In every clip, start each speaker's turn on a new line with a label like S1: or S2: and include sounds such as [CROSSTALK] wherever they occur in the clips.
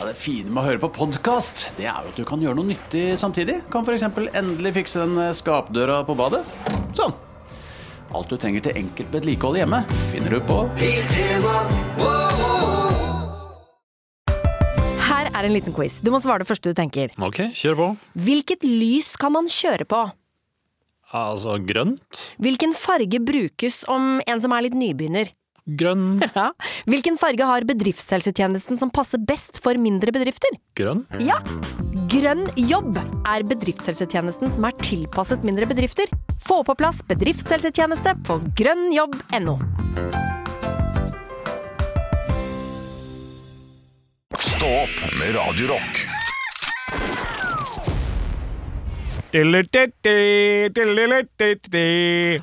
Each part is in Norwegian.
S1: Ja, det fine med å høre på podkast, det er jo at du kan gjøre noe nyttig samtidig. Kan f.eks. endelig fikse den eh, skapdøra på badet. Sånn. Alt du trenger til enkelt vedlikehold hjemme, finner du på
S2: Her er en liten quiz. Du må svare det første du tenker.
S3: Ok, kjør på.
S2: Hvilket lys kan man kjøre på?
S3: Altså grønt.
S2: Hvilken farge brukes om en som er litt nybegynner? [LAUGHS]
S3: Grønn.
S2: Ja. Hvilken farge har bedriftshelsetjenesten som passer best for mindre bedrifter?
S3: Grønn.
S2: Ja! Grønn jobb er bedriftshelsetjenesten som er tilpasset mindre bedrifter. Få på plass bedriftshelsetjeneste på grønnjobb.no.
S4: Stå opp med Radio Rock.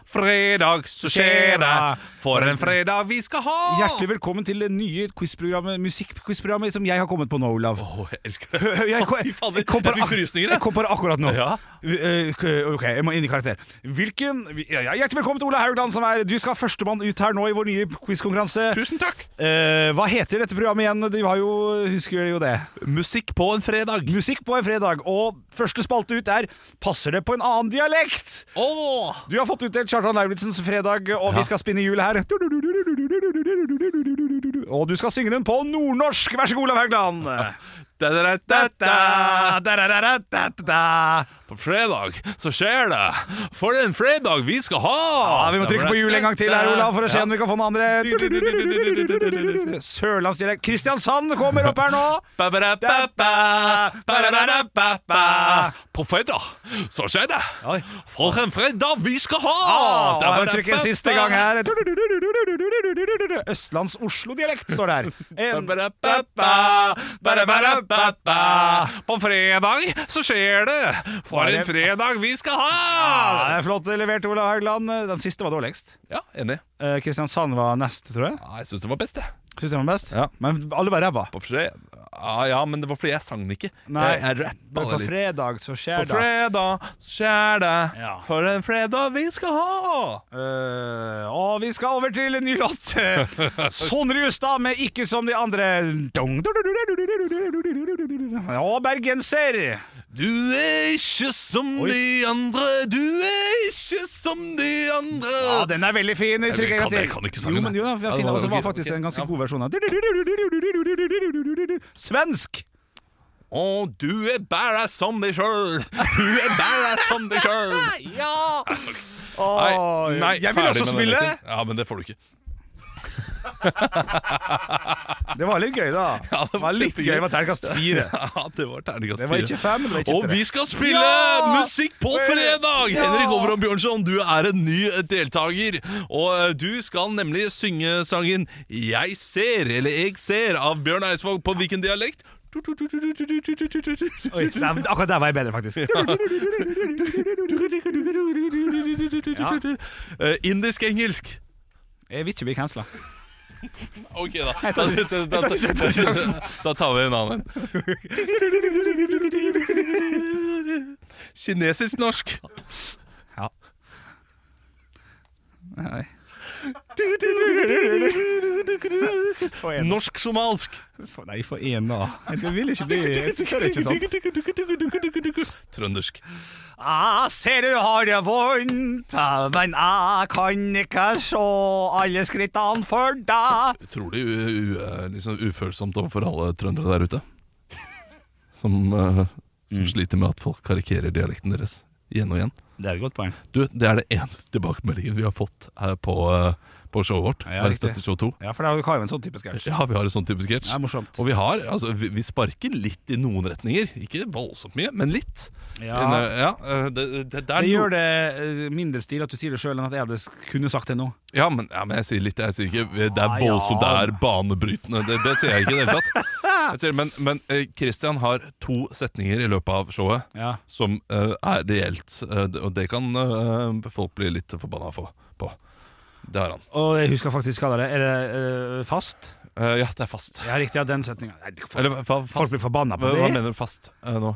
S5: Fredag, så skjer det. For en fredag vi skal ha!
S6: Hjertelig velkommen til det nye quizprogrammet, musikkquizprogrammet som jeg har kommet på nå, Olav.
S5: Åh, jeg elsker det.
S6: Jeg,
S5: Å, fy fader,
S6: kom på
S5: jeg fikk
S6: ak-
S5: frysninger, jeg.
S6: Jeg kom på det akkurat nå.
S5: Ja.
S6: Eh, Ok, jeg må inn i karakter. Hvilken ja, ja, Hjertelig velkommen til Ola Haugland, som er Du skal ha førstemann ut her nå i vår nye quizkonkurranse.
S5: Tusen takk.
S6: Eh, hva heter dette programmet igjen? Du har jo, husker jo det.
S5: Musikk på en fredag.
S6: Musikk på en fredag. Og første spalte ut er Passer det på en annen dialekt?
S5: Åh!
S6: Du har fått utdelt Kjartan Lauritzens fredag, og vi skal spinne hjul her. Og du skal synge den på nordnorsk. Vær så god, Olav Haugland.
S5: Da, da, da, da, da. På fredag så skjer det. For en fredag vi skal ha!
S6: Ja, vi må trykke på hjul en gang til her, Olav, for å se om vi kan få den andre. Sørlandsdialekt. Kristiansand kommer opp her nå.
S5: Ba, ba, da, ba, ba. Ba, da, da, da, ba, ba. På fredag så skjer det.
S6: Oi.
S5: For en fredag vi skal ha!
S6: Ah,
S5: Da, ba,
S6: jeg
S5: da,
S6: trykker
S5: ba,
S6: en siste
S5: ba.
S6: gang her. Østlands-Oslo-dialekt står det
S5: [LAUGHS]
S6: her. En-
S5: Ba-ba-da-ba-ba, ba-da-ba-da-ba-ba. På fredag så skjer det. For en fredag vi skal
S6: Ja,
S5: ha!
S6: det er flott levert, Olav Haugland. Den siste var dårligst.
S5: Ja, enig.
S6: Eh, Kristiansand var nest, tror jeg.
S5: Ja, jeg syns det var best, jeg.
S6: Syns jeg var best.
S5: Ja.
S6: Men alle var ræva.
S5: På fredag ja, ja, men det var fordi jeg sang den ikke.
S6: Nei.
S5: Jeg, jeg rappa
S6: På
S5: det litt.
S6: fredag så
S5: På
S6: skjer det
S5: fredag så skjer det.
S6: Ja.
S5: For en fredag vi skal ha!
S6: Eh, og vi skal over til en ny
S5: [LAUGHS]
S6: låt. Sondre Justad med 'Ikke som de andre'. Dong, dong, dong, dong, dong, dong, dong, dong, dong, dong, dong. Og bergenser.
S5: Du er ikke som
S6: Oi.
S5: de andre, du er ikke som de andre.
S6: Ja, den er veldig fin. Jeg trykker
S5: Jeg
S6: en gang
S5: kan-
S6: til.
S5: jeg kan ikke sangen,
S6: Jo, men
S5: jeg.
S6: jo, da, vi har
S5: Ja, det
S6: fin,
S5: var
S6: og så
S5: jo
S6: var
S5: gøy.
S6: faktisk
S5: Ok,
S6: en ganske
S5: ja.
S6: god versjon av
S5: Og du er bare som deg sjøl. Du er bare som deg [LAUGHS] sjøl.
S6: Ja!
S5: Nei,
S6: Åh,
S5: nei,
S6: jeg vil
S5: ferdig
S6: også
S5: med den
S6: spille.
S5: retten. Ja, men det får du ikke.
S6: Det var litt gøy, da.
S5: [LAUGHS] Ja, det
S6: det
S5: var
S6: var litt
S5: kjempegøy.
S6: gøy med terningkast fire.
S5: [LAUGHS] Ja, det var terningkast
S6: Det var
S5: fire.
S6: ikke fem, det var ikke
S5: Og
S6: tre.
S5: vi skal spille
S6: Ja!
S5: musikk på fredag!
S6: Ja!
S5: Henrik Overholm Bjørnson, du er en ny deltaker. Og eh, du skal nemlig synge sangen 'Jeg ser', eller 'Jeg ser', av Bjørn Eidsvåg på hvilken dialekt?
S6: Oi, nei, men akkurat der var jeg bedre,
S5: [LAUGHS]
S6: faktisk.
S5: Eh, Indisk-engelsk.
S6: Jeg vil ikke bli cancela.
S5: Ok, da. Da, da, da, da, [LAUGHS] da tar vi en annen en. Kinesisk-norsk.
S6: Ja. Nei. en.
S5: Norsk-somalsk.
S6: For, nei, for én, da. Det vil ikke [LAUGHS] bli Jeg tør ikke sånn.
S5: Trøndersk.
S6: Jeg Ah, ser du har det vondt, men jeg kan ikke se alle skrittene for deg.
S5: Utrolig u- u- eh, liksom ufølsomt overfor alle trøndere der ute. Som, eh, som
S6: Mm.
S5: sliter med at folk karikerer dialekten deres igjen og igjen.
S6: Det er et godt poeng.
S5: Du, Det er det eneste tilbakemeldingen vi har fått her på, eh, på showet vårt.
S6: Ja,
S5: Verdens
S6: riktig.
S5: beste show 2.
S6: Ja, for det har jo en sånn type sketsj.
S5: Ja, vi har en sånn type sketsj.
S6: Det er morsomt.
S5: Og vi har, altså, vi, vi sparker litt i noen retninger. Ikke voldsomt mye, men litt.
S6: Ja.
S5: Men, eh, ja, eh, det, det, det er
S6: Det
S5: no-
S6: gjør det eh, mindre stil at du sier det sjøl, enn at jeg hadde s- kunne sagt det nå.
S5: Ja, men, ja, men jeg sier litt. Jeg sier ikke Det er
S6: Ah, ja.
S5: voldsomt, det er banebrytende. Det, det sier jeg ikke i det hele tatt. Jeg sier, men, men eh, Christian har to setninger i løpet av showet
S6: Ja.
S5: som eh, er reelt. eh, det- og det kan eh, folk bli litt forbanna for, på. Det har han.
S6: Og jeg husker faktisk hva det er. Er det eh, fast?
S5: Eh, ja, det er fast.
S6: Ja, riktig. Ja, den setninga.
S5: Eller fa- fast.
S6: Folk blir forbanna på
S5: hva,
S6: det.
S5: Hva mener du fast eh, nå?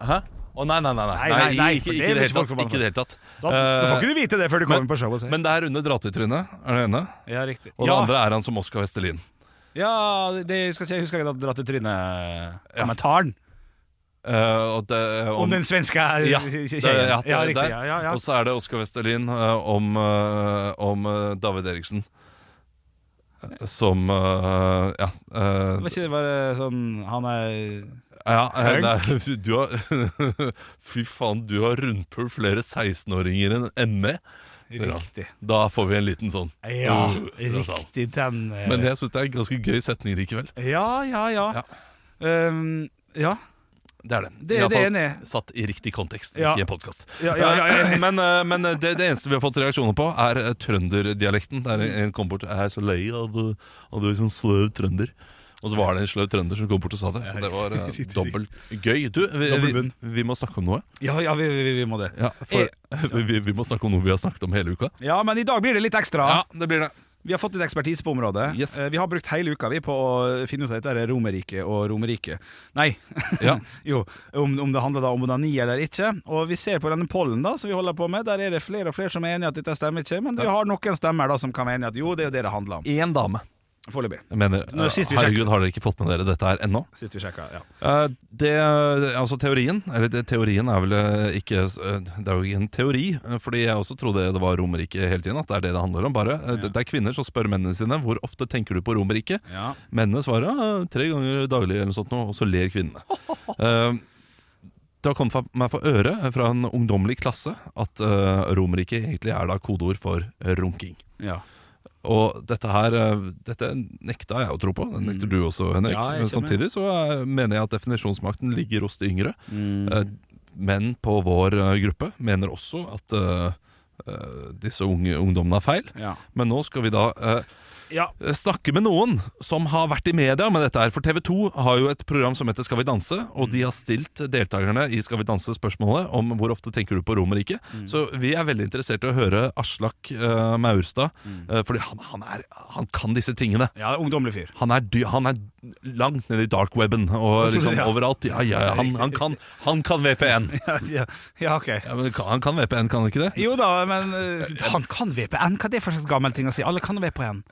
S5: Hæ? Å nei, nei,
S6: nei,
S5: nei. nei,
S6: nei,
S5: ikke,
S6: for det
S5: ikke, i
S6: blir ikke
S5: det hele
S6: folk
S5: tatt,
S6: forbanna
S5: ikke i det hele tatt.
S6: Nå får ikke du vite det før du
S5: Eh, men-
S6: kommer på showet. sier jeg.
S5: Men det er Rune Drattetryne, er det ene.
S6: Ja, riktig.
S5: Og
S6: ja.
S5: det andre er han som Oskar Vestelin.
S6: Ja, det husker jeg, husker jeg hadde dratt til Trine-kommentaren.
S5: Eh, og det,
S6: Om, den svenske [LAUGHS]
S5: ja, det,
S6: kje-
S5: ja,
S6: kjeien.
S5: det,
S6: ja, riktig.
S5: der.
S6: Ja, ja, ja.
S5: Og så er det Oskar Westerlin eh, om, eh, om eh, David Eriksen. Eh, Som eh, Ja. eh,
S6: Var ikke det bare sånn Han er
S5: ja eh, nei, [LAUGHS] du har, [LAUGHS] fy faen, du har rundpult flere 16-åringer enn E. ME. sier han.
S6: riktig.
S5: Da får vi en liten sånn.
S6: Ja,
S5: Uh, fra salen.
S6: riktig den eh,
S5: Men jeg syns det er en ganske gøy setning likevel.
S6: Ja, ja, ja. Um, ja.
S5: Det er det.
S6: Det- det
S5: I alle
S6: er
S5: fall
S6: enig.
S5: Satt i riktig kontekst,
S6: Ja.
S5: ikke i en podkast.
S6: Ja, ja, ja, ja.
S5: Men, eh, men det, det eneste vi har fått reaksjoner på, er eh, trønderdialekten. Der
S6: Mm.
S5: en kom bort Jeg er så lei av det, av det sånn sløv trønder. Og så var det en sløv trønder som kom bort og sa det. Så det
S6: [LAUGHS]
S5: var eh, dobbelt gøy. Du, vi,
S6: Dobbel
S5: vi,
S6: bunn.
S5: vi må snakke om noe.
S6: ja, ja vi, vi, vi må det.
S5: Ja,
S6: Eh,
S5: for, [LAUGHS] vi, vi må snakke om noe vi har snakket om hele uka.
S6: Ja, men i dag blir det litt ekstra.
S5: Ja, det blir det.
S6: Vi har fått litt ekspertise på området.
S5: Yes.
S6: Eh, Vi har brukt hele uka vi på å finne ut av dette her Romerriket og Romerriket. Nei, [LAUGHS]
S5: Ja. [LAUGHS]
S6: jo, om, om det handler da om onani eller ikke. Og vi ser på denne pollen da, som vi holder på med, der er det flere og flere som er enige at dette stemmer ikke, men vi har noen stemmer da som kan være enige at jo, det er jo det det handler om.
S5: Én dame.
S6: Foreløpig.
S5: Jeg mener,
S6: Nå,
S5: eh,
S6: sist vi
S5: herregud, har dere ikke fått med dere dette her ennå?
S6: Sist vi sjekka, ja.
S5: Eh, det, altså teorien Eller det, teorien er vel eh, ikke eh, Det er jo ikke en teori, eh, fordi jeg også trodde det var Romerike hele tiden. At det er det det handler om. bare Eh, det, det er kvinner som spør mennene sine hvor ofte tenker du på Romerike.
S6: Ja.
S5: Mennene svarer «Ja, tre ganger daglig, eller noe sånt, nå, og så ler kvinnene. Eh, det har kommet fra- meg for øre eh, fra en ungdommelig klasse at uh, Romerike egentlig er da kodeord for runking.
S6: ja.
S5: Og dette her eh, Dette nekta jeg å tro på. Det nekter du også, Henrik.
S6: Mm. Ja, jeg
S5: Men
S6: kjenner
S5: samtidig så eh, mener jeg at definisjonsmakten ligger hos de yngre.
S6: Mm.
S5: Eh, Menn på vår eh, gruppe mener også at eh, eh, disse unge ungdommene har feil.
S6: Ja.
S5: Men nå skal vi da eh,
S6: Ja.
S5: snakke med noen som har vært i media med dette her. For TV 2 har jo et program som heter Skal vi danse, og de har stilt deltakerne i Skal vi danse spørsmålet om hvor ofte tenker du på Romerike.
S6: Mm.
S5: Så vi er veldig interessert i å høre Aslak eh, Maurstad,
S6: Mm.
S5: eh, fordi han, han, er, han kan disse tingene.
S6: ja, ungdommelig fyr. [LAUGHS]
S5: Han er, dy han er langt nede i darkweben og liksom
S6: Ja.
S5: overalt. Ja, ja, ja, han, han, kan, han kan
S6: [LAUGHS]
S5: VPN.
S6: Ja, ja, ja, ok.
S5: Ja, men kan- han kan VPN, kan han ikke det?
S6: Jo da, men eh, han kan VPN. Hva er det for slags gammel ting å si? Alle kan VPN.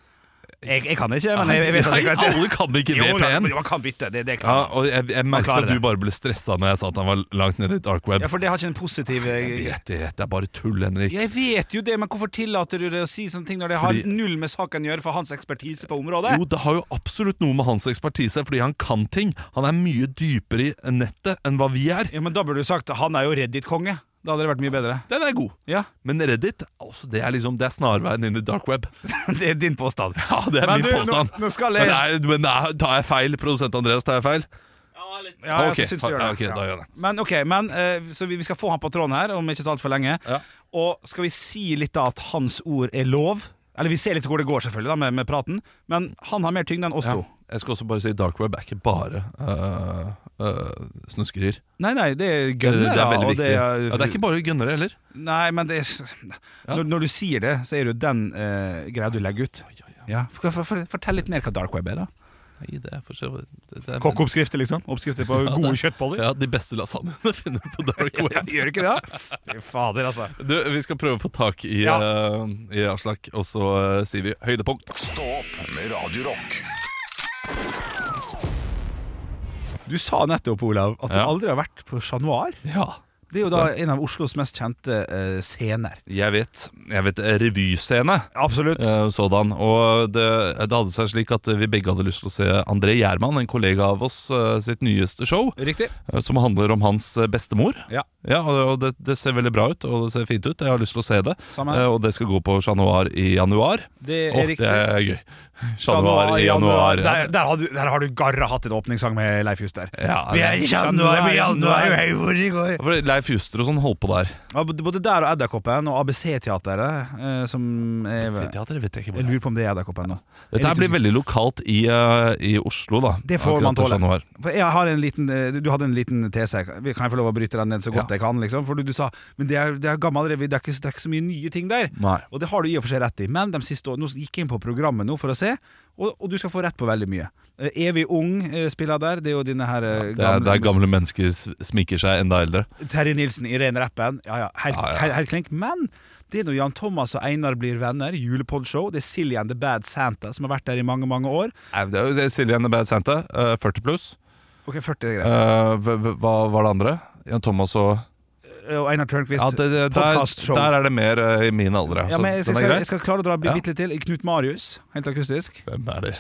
S6: Jeg, jeg kan ikke, men jeg, jeg vet at jeg
S5: Nei,
S6: kan ikke.
S5: alle kan ikke
S6: Jo, da,
S5: VPN.
S6: men man kan bytte, det, det er
S5: Ja,
S6: klart.
S5: og jeg, jeg merket
S6: klarer
S5: at du
S6: det.
S5: bare ble stressa når jeg sa at han var langt nede i dark web.
S6: Ja, for det har ikke en positiv eh,
S5: Jeg
S6: jeg,
S5: vet det, det er bare tull, Henrik.
S6: vet jo det, men hvorfor tillater du det å si sånne ting når det
S5: Fordi-
S6: har null med saken å gjøre for hans ekspertise på området?
S5: Jo, det har jo absolutt noe med hans ekspertise, fordi han kan ting. Han er mye dypere i nettet enn hva vi er.
S6: Ja, men da burde du sagt han er jo Reddit-konge. Da hadde det vært mye bedre.
S5: Den er god.
S6: Ja, [LAUGHS]
S5: Men Reddit altså, det er liksom, det er snarveien inn i dark web. [LAUGHS]
S6: det er din påstand.
S5: Ja, det er
S6: Men
S5: min
S6: du, nå-
S5: påstand.
S6: nå skal jeg-
S5: Men, nei, men nei, tar jeg feil? Produsent Andreas, tar jeg feil?
S6: Ja, jeg
S5: Ok,
S6: syns du gjør det.
S5: ja, ok, da gjør jeg det.
S6: Men ok, men, eh, så vi, vi skal få han på tråden her om ikke så altfor lenge.
S5: Ja.
S6: Og skal vi si litt da at hans ord er lov? Eller vi ser litt hvor det går, selvfølgelig, da, med, med praten. Men han har mer tyngde enn oss to.
S5: Jeg skal også bare si dark web er ikke bare øh, øh, snuskerier.
S6: Nei, nei, det er
S5: Det,
S6: gønnere.
S5: det er veldig
S6: og
S5: viktig.
S6: det er-
S5: ja, det er ikke bare gønnere heller.
S6: Nei, men det er når, når du sier det, så er det jo den eh, greia du legger ut. Ja. For, for, for, fortell litt mer hva dark web er, da.
S5: Nei, det er for så vidt det- det er-
S6: Kokkeoppskrifter, liksom? Oppskrifter på gode [LAUGHS] kjøttboller?
S5: Ja, de beste lasagnene [LAUGHS] finner du på dark web.
S6: Gjør ikke det? Fy Fader, altså.
S5: Du, vi skal prøve å få tak i,
S6: Ja.
S5: eh, i Aslak, og så eh, sier vi høydepunkt.
S4: Stå opp med Radio Rock.
S6: Du sa nettopp, Olav, at du
S5: Ja.
S6: aldri har vært på Chat Noir.
S5: Ja.
S6: Det er jo da en av Oslos mest kjente eh, scener.
S5: Jeg vet. Jeg vet eh, revyscene.
S6: Absolutt.
S5: eh, Sådan. Og det, det hadde seg slik at vi begge hadde lyst til å se André Gjerman, en kollega av oss, eh, sitt nyeste show,
S6: Riktig.
S5: eh, som handler om hans eh, bestemor.
S6: Ja.
S5: Ja, og og det, det ser veldig bra ut, og det ser fint ut. Jeg har lyst til å se det.
S6: Samme her.
S5: Eh, Og det skal gå på Chat Noir i januar.
S6: Det er
S5: Åh,
S6: riktig.
S5: det er gøy. E- [LAUGHS] Chat Noir i januar.
S6: Der, der, har du, der har du garra hatt en åpningssang med Leif Juster.
S5: Ja,
S6: Vi er i Chat Noir, vi er i januar, vi er i hvor i går.
S5: Ja, for Leif Juster og sånn holdt på der.
S6: Ja, både både der og Edderkoppen og ABC-teateret, eh, som er,
S5: Teateret vet jeg ikke hvor
S6: Jeg lurer på om det er Edderkoppen nå.
S5: Dette her blir veldig lokalt i, eh, i Oslo, da.
S6: Det får
S5: Akkurat
S6: man
S5: i
S6: tåle.
S5: januar.
S6: For jeg har en liten, eh, du- du hadde en liten tese. Kan jeg få lov å bryte den ned så godt
S5: Ja.
S6: jeg kan? Liksom? For du, du sa Men det er, det er gammel revy, det, er ikke- det er ikke så mye nye ting der.
S5: Nei.
S6: Og det har du i og for seg rett i. Men de siste årene, nå gikk jeg inn på programmet nå for å se, og, og du skal få rett på veldig mye. Eh, Evig Ung eh, spiller der. Det er jo dine her eh,
S5: Det er, det er gamle mennesker s- sminker seg enda eldre.
S6: Terje Nilsen, Irene Reppen. Ja, ja, helt,
S5: Ja, ja.
S6: Helt, helt klink. Men Det er når Jan Thomas og Einar blir venner, julepodshow. Det er Silje and the Bad Santa som har vært der i mange, mange år.
S5: Nei, det er jo det er Silje and the Bad Santa, eh, 40 pluss.
S6: Ok, 40 er
S5: Eh,
S6: greit.
S5: hva hva var det andre? Jan Thomas og
S6: og Einar Tørnquist,
S5: ja, det, det, der,
S6: podcastshow.
S5: der er det mer eh, i min alder, ja.
S6: Ja,
S5: Så
S6: men jeg,
S5: den
S6: skal,
S5: er grei.
S6: jeg skal klare å dra
S5: Ja.
S6: bitte litt til. Knut Marius, helt akustisk.
S5: Hvem er det?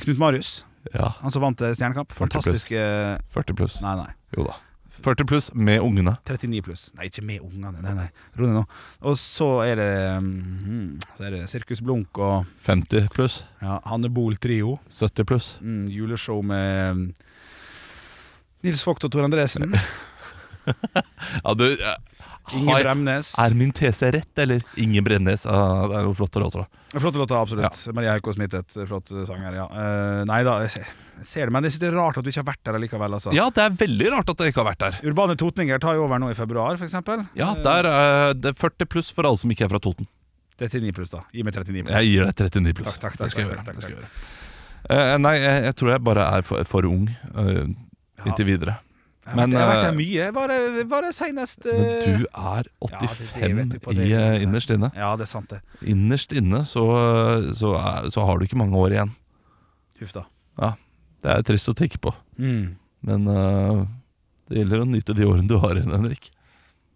S6: Knut Marius,
S5: Ja,
S6: han som vant eh, Stjernekamp.
S5: 40 pluss.
S6: Fantastisk eh,
S5: 40 pluss.
S6: Nei, nei.
S5: Jo da. 40 pluss med ungene.
S6: 39 pluss. Nei, ikke med ungene. Nei, nei. Ro deg nå. Og så er det mm, Så er det Sirkus Blunk og
S5: 50 pluss.
S6: ja, Hanne Bohl-trio.
S5: 70 pluss.
S6: Mm, juleshow med mm, Nils Vogt og Tor Andresen.
S5: Ja, du, eh,
S6: Inge
S5: [LAUGHS] har,
S6: Bremnes.
S5: er min tese rett, eller? Ingen Bremnes. Ah, det er jo flotte låter, da.
S6: Flotte låter, absolutt. Maria Hauko Smithet, flott sanger. Ja. Eh, nei da, jeg ser- jeg ser det, men jeg synes det er rart at du ikke har vært der allikevel, altså.
S5: Ja, det er veldig rart at jeg ikke har vært der.
S6: Urbane Totninger tar jo over nå i februar, for eksempel.
S5: Ja, der er det 40 pluss for alle som ikke er fra Toten.
S6: 39 pluss, da. Gi meg 39 pluss.
S5: Jeg gir deg 39 pluss.
S6: Takk, takk, takk.
S5: Det skal jeg
S6: takk,
S5: gjøre.
S6: takk,
S5: Det skal
S6: takk,
S5: jeg gjøre. Eh, nei, jeg, jeg tror jeg bare er for, for ung eh, inntil videre.
S6: Jeg har vært- jeg har vært der
S5: eh,
S6: mye. Bare, bare senest
S5: men
S6: eh,
S5: du er
S6: Ja, det- det
S5: 85
S6: vet du på det,
S5: i, eh,
S6: ikke sant?
S5: innerst inne.
S6: Ja, det er sant, det.
S5: Innerst inne så, så, er, så har du ikke mange år igjen.
S6: Huff da.
S5: Ja, Det er trist å tenke på,
S6: Mm.
S5: men eh, det gjelder å nyte de årene du har igjen, Henrik.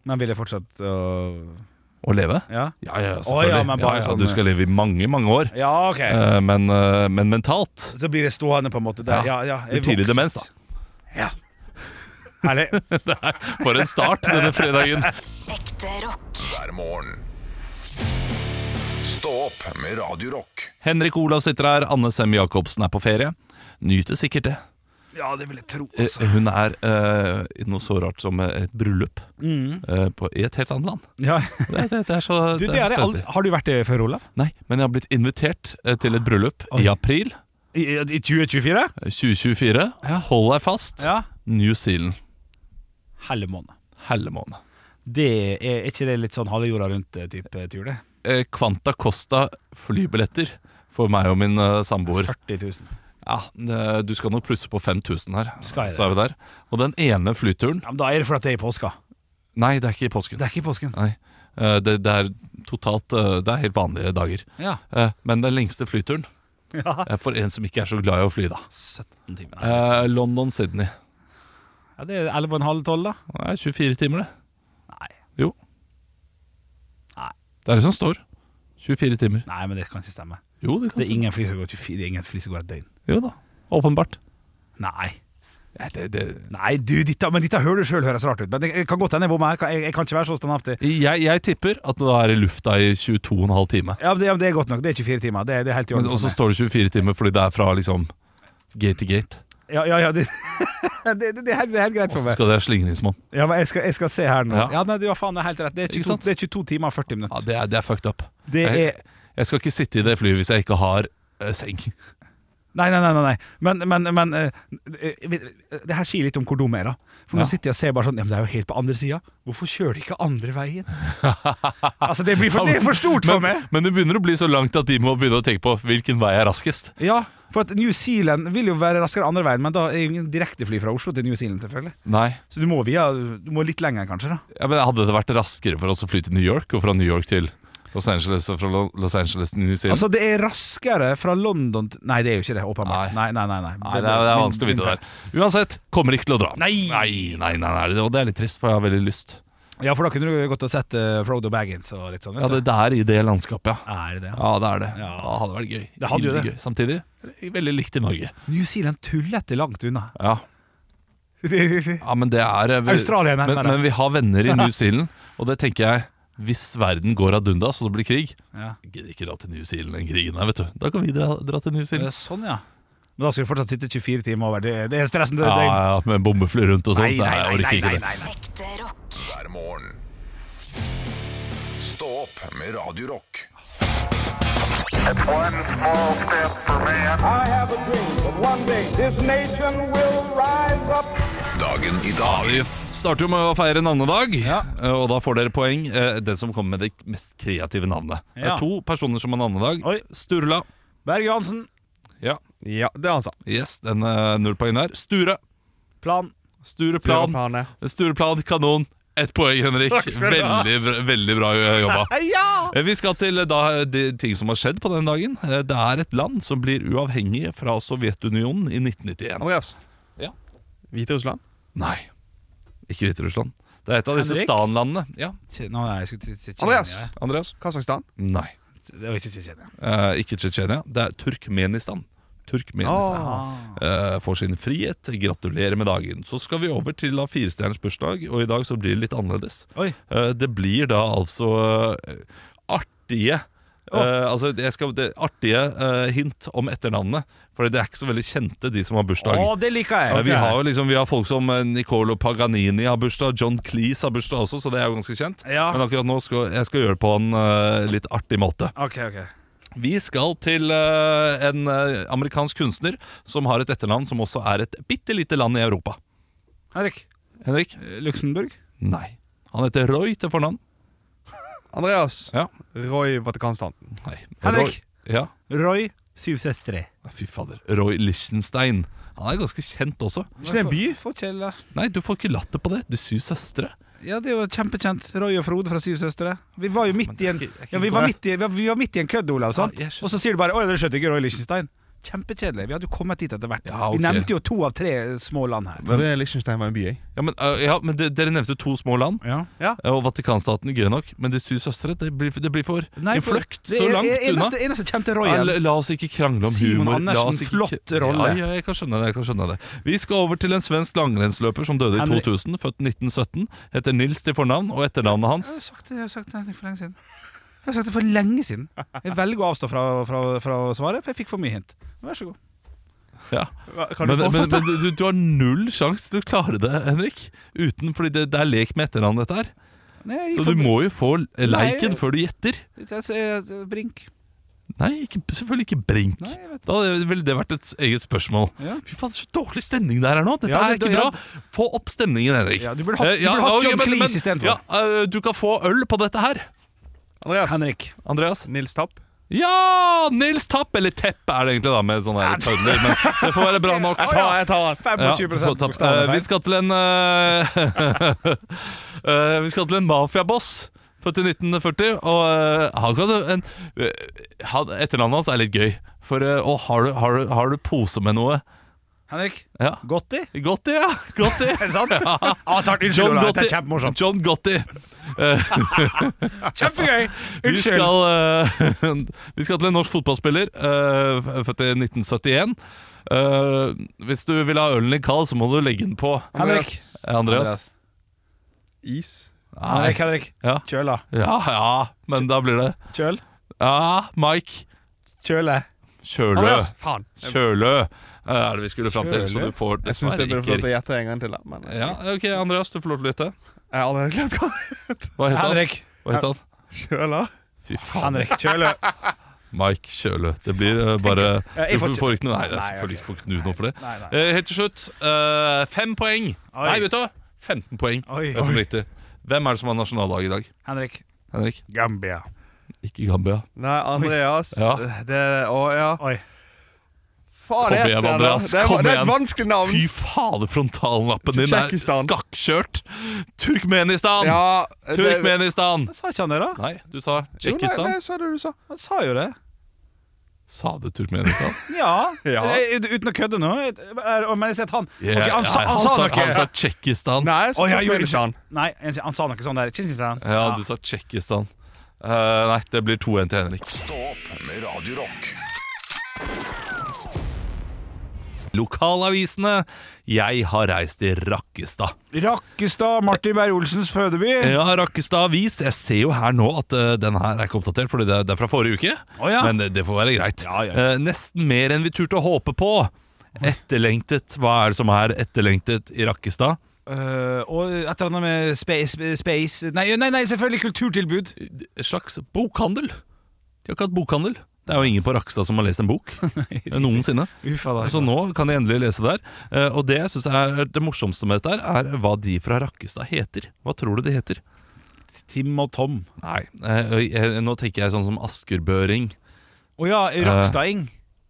S6: Men vil jeg fortsatt øh,
S5: Å leve?
S6: Ja?
S5: Ja, ja,
S6: Å, ja,
S5: selvfølgelig.
S6: men
S5: Ja,
S6: bare
S5: ja,
S6: sånn,
S5: du skal leve i mange, mange år.
S6: Ja, OK.
S5: Eh, men, eh, men mentalt
S6: Så blir det stående, på en måte. Der. Ja,
S5: Ja.
S6: ja.
S5: Det blir tidlig demens, da.
S6: Ja. Herlig.
S5: For en start denne
S6: [LAUGHS]
S5: fredagen!
S7: Ekte rock.
S4: hver morgen. Stå opp med Radio Rock.
S5: Henrik Olav sitter her, Anne Sem Jacobsen er på ferie. Nyter sikkert det.
S6: Ja, det vil jeg tro. altså.
S5: Eh, Hun er eh, i noe så rart som et bryllup eh, på, i et helt annet land.
S6: Ja.
S5: Det, det, det er så,
S6: Mm. [LAUGHS] Du,
S5: det
S6: det
S5: er
S6: har
S5: så
S6: jeg aldri-
S5: spenstig.
S6: har du vært det før, Olav?
S5: Nei, men jeg har blitt invitert eh, til et bryllup i april
S6: I,
S5: eh,
S6: i 2024?
S5: 2024. Hold deg fast.
S6: Ja.
S5: New Zealand.
S6: Helle måned.
S5: Hellemåne.
S6: Det er, er ikke det litt sånn halve jorda rundt-type tur, det?
S5: Eh, Quanta Costa flybilletter for meg og min eh, samboer.
S6: 40 000.
S5: Ja, det- Du skal nok plusse på 5000 her.
S6: Skal jeg
S5: Så er vi der. Og den ene flyturen
S6: Ja, men da er det fordi det er i påska.
S5: Nei, det er ikke i påsken.
S6: Det er ikke i påsken.
S5: Nei. Eh, Det, det er totalt eh, Det er helt vanlige dager.
S6: Ja.
S5: Eh, Men den lengste flyturen
S6: [LAUGHS] Ja.
S5: eh, for en som ikke er så glad i å fly, da.
S6: 17 timer.
S5: Eh, London-Sydney.
S6: Ja, det er 11,5-12, da.
S5: Det er 24 timer, det.
S6: Nei.
S5: Jo.
S6: Nei.
S5: Det er det som står. 24 timer.
S6: Nei, men det kan ikke stemme.
S5: Jo, det kan
S6: Det er
S5: stemme.
S6: ingen fly som går 24, det er ingen fly som går et døgn.
S5: Jo da. Åpenbart.
S6: Nei.
S5: Nei, det, det.
S6: Nei, du, dette, men dette hører du sjøl høres rart ut. Men det kan godt hende jeg bommer her. Jeg, jeg kan ikke være så standhaftig.
S5: Jeg, jeg tipper at det da er i lufta i 22,5 timer.
S6: Ja, men det, ja, men det er godt nok. Det er 24 timer. Det, er- det er helt i
S5: Men-
S6: orden.
S5: Og
S6: for
S5: så
S6: meg.
S5: står det 24 timer fordi det er fra liksom gate til gate.
S6: Ja, ja, ja, det, [LAUGHS] det, det, det, er helt, det er helt greit
S5: Og
S6: for
S5: så
S6: meg.
S5: skal det være slingringsmonn.
S6: Ja, men jeg skal, jeg skal se her nå. Ja,
S5: Ja.
S6: nei, du har faen det er helt rett. Det er
S5: Ikke
S6: 22,
S5: sant?
S6: det er 22 timer og 40
S5: Ja,
S6: minutter.
S5: det er, det er fucked up.
S6: Det er
S5: Jeg skal ikke sitte i det flyet hvis jeg ikke har eh, seng.
S6: Nei, nei, nei. nei, nei. Men, men, men eh, eh, det her sier litt om hvor dum jeg er, da. For nå
S5: Ja.
S6: sitter jeg og ser bare sånn Ja, men det er jo helt på andre sida. Hvorfor kjører de ikke andre
S5: [LAUGHS]
S6: veien? altså, det, blir for, det er for stort for meg.
S5: Men, men det begynner å bli så langt at de må begynne å tenke på hvilken vei er raskest.
S6: Ja, for at New Zealand vil jo være raskere andre veien, men da er jo ingen direktefly fra Oslo til New Zealand, selvfølgelig.
S5: Nei,
S6: Så du må, via, du må litt lenger, kanskje, da.
S5: ja, men Hadde det vært raskere for oss å fly til New York og fra New York til Los Angeles og fra Lo- Los Angeles til New Zealand?
S6: Altså, det er raskere fra London til Nei, det er jo ikke det, åpenbart. Nei,
S5: Nei.
S6: nei, nei. nei.
S5: Nei, det er, det er
S6: Min-
S5: vanskelig å
S6: min
S5: vite det
S6: feil.
S5: der. Uansett, kommer ikke til å dra.
S6: Nei.
S5: nei, nei, nei, nei. Og det er litt trist, for jeg har veldig lyst.
S6: Ja, for da kunne du gått og sett eh, Frodo Baggins og litt sånn.
S5: Ja,
S6: Vet
S5: det, det er i det landskapet, ja.
S6: du. Er det det?
S5: Ja, det er det.
S6: Ja.
S5: Ja. Det hadde vært gøy.
S6: Det hadde jo det.
S5: Veldig Gøy. Samtidig veldig likt i Norge.
S6: New Zealand tullete langt unna.
S5: [LAUGHS] Ja, ja men det er eh,
S6: Australia er
S5: men,
S6: nærmere.
S5: men vi har venner
S6: [LAUGHS]
S5: i New Zealand, og det tenker jeg Hvis verden går ad undas og det blir krig
S6: Ja.
S5: Jeg Gidder ikke dra til New Zealand den krigen her, vet du. Da kan vi dra, dra til New
S6: Det er
S5: Zealand.
S6: sånn, ja. Men da skal du fortsatt sitte 24 timer over. Det, det er stressende
S5: Ja,
S6: døgn.
S5: ja, med bombefly rundt og
S6: Nei, nei,
S5: sånt.
S6: nei,
S5: jeg
S6: nei,
S5: orker
S6: nei,
S5: ikke det.
S6: nei, nei.
S7: Ekte rock.
S4: hver morgen. Stå opp med Radio Rock.
S8: One small step for man. I have a dream that one day this nation will rise up.
S4: Dagen i dag
S5: Vi starter jo med å feire navnedag, eh, og da får dere poeng. eh, Den som kommer med det mest kreative navnet. Det
S6: Ja.
S5: er to personer som har navnedag.
S6: Oi.
S5: Sturla.
S6: Berg Johansen.
S5: Ja,
S9: Ja, det er han sa.
S5: yes, den eh, null poeng der. Sture.
S6: Plan.
S5: Stureplan. Stureplan, kanon. Ett poeng, Henrik. Veldig, bra- veldig bra jobba.
S6: [LAUGHS] Ja!
S5: Eh, Vi skal til eh, da, de ting som har skjedd på den dagen. Eh, Det er et land som blir uavhengig fra Sovjetunionen i 1991.
S7: Andreas.
S5: Ja.
S7: Hviterussland?
S5: Nei, ikke Hviterussland. Det er et av disse
S6: Henrik?
S5: stanlandene. Ja,
S6: Nå er jeg skulle til- til
S7: Andreas!
S6: Tsjetsjenia.
S5: Andreas?
S7: Kasakhstan?
S5: Nei,
S6: Det var ikke Tsjetsjenia.
S5: eh, ikke Tsjetsjenia. Det er Turkmenistan. Turkmenistan
S6: Ah.
S5: eh, får sin frihet. Gratulerer med dagen. Så skal vi over til da firestjerners bursdag, og i dag så blir det litt annerledes.
S6: Oi.
S5: Eh, det blir da altså eh, artige eh, altså jeg skal, det, Artige eh, hint om etternavnene. For det er ikke så veldig kjente, de som har bursdag.
S6: Å, det liker jeg.
S5: Ja, Vi
S6: Ok.
S5: har jo liksom, vi har folk som eh, Nicolo Paganini har bursdag, John Cleese har bursdag også, så det er jo ganske kjent.
S6: Ja.
S5: Men akkurat nå skal jeg skal gjøre det på en eh, litt artig måte.
S6: Ok, ok.
S5: Vi skal til eh, en eh, amerikansk kunstner som har et etternavn som også er et bitte lite land i Europa.
S6: Henrik.
S5: Henrik?
S6: eh, Luxembourg?
S5: Nei. Han heter Roy til fornavn.
S7: Andreas.
S5: Ja.
S7: Roy Vatikanstaten.
S5: Nei.
S6: Henrik?
S5: Roy, ja.
S6: Roy? Syv søstre.
S5: Fy fader. Roy Lichtenstein. Han er ganske kjent også.
S6: Ikke det en by? Forkjella.
S5: Nei, du får ikke latter på det. De syv søstre.
S6: Ja, det er jo kjempekjent. Roy og Frode fra Syv søstre. Vi var jo midt i en
S5: ikke- det er ikke
S6: Ja, vi var midt i, vi var- vi var midt i en kødd, Olav. sant?
S5: Ja, jeg skjønner.
S6: og så sier du bare 'Oi, dere skjønte ikke Roy Lichtenstein'. Kjempekjedelig. Vi hadde jo kommet dit etter hvert.
S5: Ja, ok.
S6: Vi nevnte jo to av tre små land her.
S7: Var det Liechtenstein var en by, jeg?
S5: Ja, men, eh, ja, men de, dere nevnte to små land.
S6: Ja.
S5: Og Vatikanstaten er gøy nok, men de syv søstre det blir, det blir for
S6: Nei,
S5: en
S6: for-
S5: fløkt
S6: det
S5: så
S6: er-
S5: langt
S6: er- eneste,
S5: unna.
S6: Eneste kjente Roy.
S5: Ja,
S6: igjen.
S5: la, la oss ikke krangle om
S6: Simon
S5: humor.
S6: Andersen,
S5: la oss ikke,
S6: flott rolle.
S5: Ja, ja, jeg kan skjønne det. jeg kan skjønne det Vi skal over til en svensk langrennsløper som døde i
S6: Henrik.
S5: 2000, født 1917. Heter Nils til fornavn, og
S6: Jeg
S5: etternavnet
S6: har
S5: hans
S6: sagt det, jeg har sagt det for lenge siden. Jeg har sagt det for lenge siden. Jeg velger å avstå fra, fra, fra å svare, for jeg fikk for mye hint. Vær så god.
S5: ja.
S7: Kan du
S5: Men, men,
S7: fortsette?
S5: men du, du har null sjanse til å klare det, Henrik. Uten, fordi det, det er lek med etternavn, dette her.
S6: Nei, jeg
S5: Så
S6: gikk
S5: du
S6: for-
S5: må jo få leiken
S6: Nei.
S5: før du gjetter.
S6: Jeg sier Brink.
S5: Nei, ikke, selvfølgelig ikke Brink.
S6: Nei, jeg vet
S5: Da hadde- ville det vært et eget spørsmål.
S6: Ja.
S5: Fy faen, så dårlig stemning det er her nå! Dette
S6: Ja,
S5: er
S6: det-
S5: ikke
S6: ja.
S5: bra! Få opp stemningen, Henrik.
S6: Ja, du burde hatt-
S5: Eh, ja,
S6: du burde hatt
S5: ok,
S6: John
S5: men- men-
S6: Cleese istedenfor.
S5: Ja, eh, du kan få øl på dette her,
S7: Andreas.
S6: Henrik.
S5: Andreas.
S7: Nils Tapp.
S5: Ja! Nils Tapp, eller Tepp er det egentlig, da, med sånne her tødler. Men det får
S6: [LAUGHS]
S5: være bra nok.
S7: jeg tar den.
S6: 25
S5: Ja, Tapp.
S6: bokstavene
S5: Eh, vi
S6: feil.
S5: skal til en eh, [LAUGHS] eh, Vi skal til en mafiaboss. Født i 1940. Og eh, han kan en, eh, han- Etternavnet hans er litt gøy. For eh, å, har, du, har, du, har du pose med noe?
S6: Henrik.
S5: Ja.
S6: Gotti?
S5: Gotti, ja!
S6: [LAUGHS]
S5: Gotti.
S6: Er det sant?
S5: Ja.
S6: Ah, takk, unnskyld,
S5: John
S6: Ola. Dette
S5: Gotti.
S6: er kjempemorsomt.
S5: John Gotti. Eh,
S6: Kjempegøy!
S5: vi,
S6: Unnskyld.
S5: skal, eh, [LAUGHS] vi skal til en norsk fotballspiller, eh, f- født i 1971. Eh, hvis du vil ha ølen din kald, så må du legge den på.
S6: Henrik.
S5: Eh, Andreas?
S7: Is.
S5: Nei.
S6: Henrik, Henrik.
S5: Ja.
S6: Kjøla.
S5: Ja, ja, men da blir det
S6: Kjøl.
S5: Ja, Mike
S6: Kjøle.
S5: Kjølø
S7: Andreas. Faen.
S5: Kjølø eh, er det vi skulle fram til Så du får
S7: Jeg syns
S5: dessverre
S7: jeg burde få lov til
S5: ikke
S7: å gjette en gang til, da. Men
S5: ja, ok, Andreas, du får lov til å lytte
S7: jeg har allerede klart hva det
S5: Hva heter han?
S6: Henrik.
S5: Hva heter han?
S7: sjøl, da.
S5: Fy faen,
S6: Henrik. Kjøle.
S5: Mike Kjølø Det blir eh, bare
S6: Ja, jeg får
S5: Du får
S6: ikke-
S5: får ikke noe Nei, det er
S6: Nei,
S5: selvfølgelig får ikke noe for det
S6: Nei, nei.
S5: Eh, Helt til slutt eh, Fem poeng
S6: Oi.
S5: Nei, vet du hva? 15 poeng
S6: Oi.
S5: Det er som riktig Hvem er det som har nasjonaldag i dag?
S6: Henrik.
S5: Henrik?
S6: Gambia.
S5: Ikke Gambia
S7: Nei, Andreas.
S5: Ja.
S7: Det Å, ja.
S6: Oi.
S7: Faen,
S5: Kom
S7: jeg
S5: igjen,
S7: heter den, da.
S5: Andreas,
S7: Det er- Det
S5: kom
S7: er et
S5: igjen.
S7: vanskelig navn.
S5: Fy fader, frontallappen din er
S7: Tsjekkistan.
S5: skakkjørt Turkmenistan
S7: Ja, det-
S5: Turkmenistan!
S6: Sa ikke han det, da?
S5: Nei, du sa
S7: Jo, nei,
S5: Tsjekkistan.
S7: nei, sa det du sa.
S6: Han sa jo det.
S5: Sa du Turkmenistan?
S6: Ja.
S7: Ja.
S6: Eh, Uten å kødde nå. eh, Men jeg ser at han
S5: Ja,
S6: Ok, han, sa,
S5: ja,
S6: han, sa noe.
S5: Han sa Tsjekkistan.
S7: Nei, jeg sa
S6: Å, jeg gjorde
S7: Turkmenistan.
S6: Nei, han sa noe sånn der. Kinshinshan.
S5: Ja, du sa Tsjekkistan. Eh, nei, det blir 2-1 til Henrik.
S4: Stå opp med Radio Rock.
S5: Lokalavisene. Jeg har reist i Rakkestad.
S6: Rakkestad, Martin Beyer-Olsens fødeby.
S5: Ja, Rakkestad Avis. Jeg ser jo her nå at eh, den her er ikke oppdatert, Fordi det, det er fra forrige uke.
S6: Å, ja.
S5: Men det, det får være greit.
S6: Ja, ja.
S5: Eh, nesten mer enn vi turte å håpe på. Etterlengtet. Hva er det som er etterlengtet i Rakkestad?
S6: Eh, og et eller annet med space, space. Nei, nei, nei, selvfølgelig kulturtilbud.
S5: et slags bokhandel. De har ikke hatt bokhandel. Det er jo ingen på Rakstad som har lest en
S6: [LAUGHS]
S5: bok Eh, noensinne.
S6: Uffa da.
S5: Så nå kan de endelig lese der. Eh, Og det jeg syns er det morsomste med dette, her, er hva de fra Rakkestad heter. Hva tror du de heter?
S6: Tim og Tom.
S5: Nei, eh, eh, nå tenker jeg sånn som askerbøring.
S6: Å ja, Rakstading.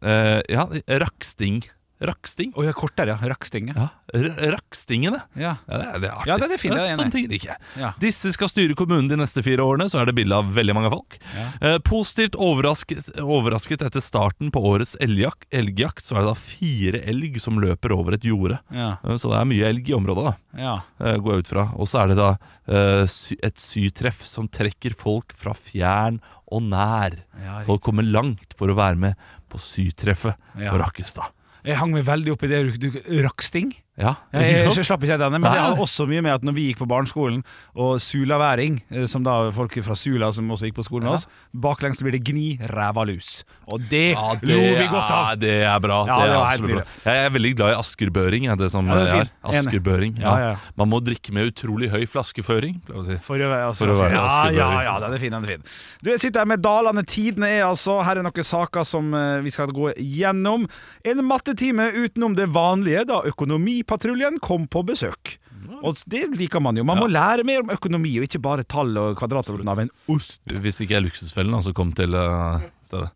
S5: Eh, Ja, raksting. Rakksting.
S6: Å ja, kortere, ja. Rakkstinget.
S5: Ja, r- Rakkstingene.
S6: Ja.
S5: Ja, det, er, det er artig.
S6: Ja, det er det fint, det er jeg enig i.
S5: sånne ting liker jeg.
S6: Ja.
S5: Disse skal styre kommunen de neste fire årene, så er det bilde av veldig mange folk. Eh, positivt overrasket, overrasket etter starten på årets elgjakt, elgjakt, så er det da fire elg som løper over et jorde.
S6: Ja.
S5: Eh, så det er mye elg i området, da,
S6: Ja.
S5: eh, går jeg ut fra. Og så er det da eh, sy, et sytreff som trekker folk fra fjern og nær.
S6: Ja,
S5: folk kommer langt for å være med på sytreffet
S6: Ja.
S5: på Rakkestad.
S6: Jeg hang meg veldig opp i det du, du, rakksting.
S5: Ja,
S6: Jeg,
S5: ikke
S6: jeg,
S5: sant?
S6: jeg slapp ikke denne, men det
S5: Nei.
S6: hadde også mye med at når vi gikk på barneskolen, og sulaværing, eh, som da folk fra Sula som også gikk på skolen med oss, baklengs blir det gni ræva lus. Og det,
S5: Ja, det
S6: lo vi godt
S5: Er,
S6: av!
S5: det er bra.
S6: Ja,
S5: det
S6: det
S5: er
S6: var helt
S5: absolutt bra. Jeg er veldig glad i askerbøring. Er det som
S6: Ja, den er
S5: jeg er.
S6: fin. Enig.
S5: Askerbøring.
S6: Ja, ja, ja.
S5: Man må drikke med utrolig høy flaskeføring. pleier jeg å Si.
S6: For å være, altså,
S5: For å være
S6: ja,
S5: Askebø.
S6: ja, ja, den er fin, den er fin. Du, jeg sitter her med Dalane Tidene er altså, her er noen saker som eh, vi skal gå gjennom. En mattetime utenom det vanlige da økonomipatruljen kom på besøk. Og det liker man jo. Man må lære mer om økonomi, og ikke bare tall og kvadratroten av en ost.
S5: Hvis ikke jeg er luksusfellen, altså kom til eh, stedet.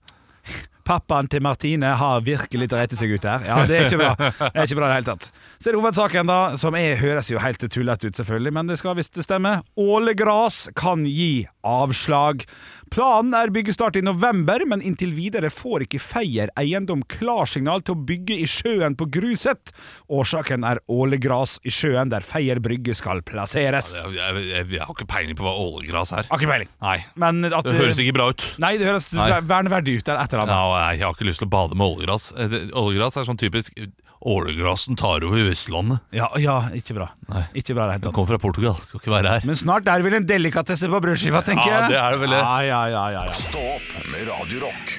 S6: Pappaen til Martine har virkelig dreit seg ut her. Ja, Det er ikke bra Det er ikke bra i det hele tatt. Så er det hovedsaken, da, som er, høres jo helt tullete ut, selvfølgelig, men det skal visst stemme. Ålegras kan gi avslag. Planen er byggestart i november, men inntil videre får ikke Feier eiendom klarsignal til å bygge i sjøen på Gruset. Årsaken er ålegras i sjøen der Feier brygge skal plasseres.
S5: Jeg, jeg, jeg, jeg har ikke peiling på hva ålegras er.
S6: Har ikke peiling.
S5: Nei,
S6: Men at
S5: Det høres ikke bra ut.
S6: Nei, det høres
S5: Nei.
S6: verneverdig ut, eller et eller
S5: Ja,
S6: annet.
S5: og jeg har ikke lyst til å bade med ålegras. Eh, det- Ålegras er sånn typisk Ålegrasen tar over Østlandet.
S6: Ja, ja ikke bra. Ikke bra i det hele
S5: Den
S6: tatt.
S5: kommer fra Portugal, skal ikke være her.
S6: Men snart er det vel en delikatesse på brødskiva, tenker jeg.
S5: Ja, det er det vel det.
S6: Ja, ja, ja, ja, ja.
S4: Stå opp med Radio Rock.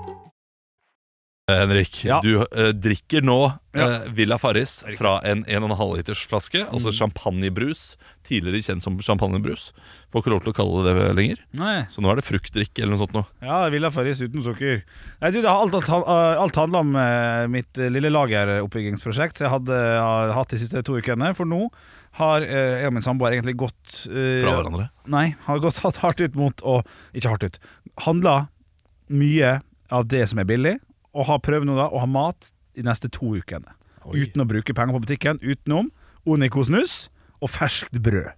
S5: Eh, Henrik,
S6: Ja.
S5: du eh, drikker nå
S6: Ja.
S5: eh, Villa Farris fra en 1,5 liters flaske, altså
S6: Mm.
S5: champagnebrus, tidligere kjent som champagnebrus. Får ikke lov til å kalle det det lenger.
S6: Nei.
S5: Så nå er det fruktdrikk eller noe sånt nå.
S6: Ja, Villa Farris uten sukker. Nei, du, det har alt, alt, alt handla om eh, mitt eh, lille lageroppbyggingsprosjekt som jeg hadde har hatt de siste to ukene. For nå har eh, jeg og min samboer egentlig gått eh,
S5: Fra hverandre.
S6: Nei, har gått hatt hardt ut mot å Ikke hardt ut. Handla mye av det som er billig, og har prøvd nå da å ha mat de neste to ukene. Uten å bruke penger på butikken. Utenom Onico snus og ferskt brød.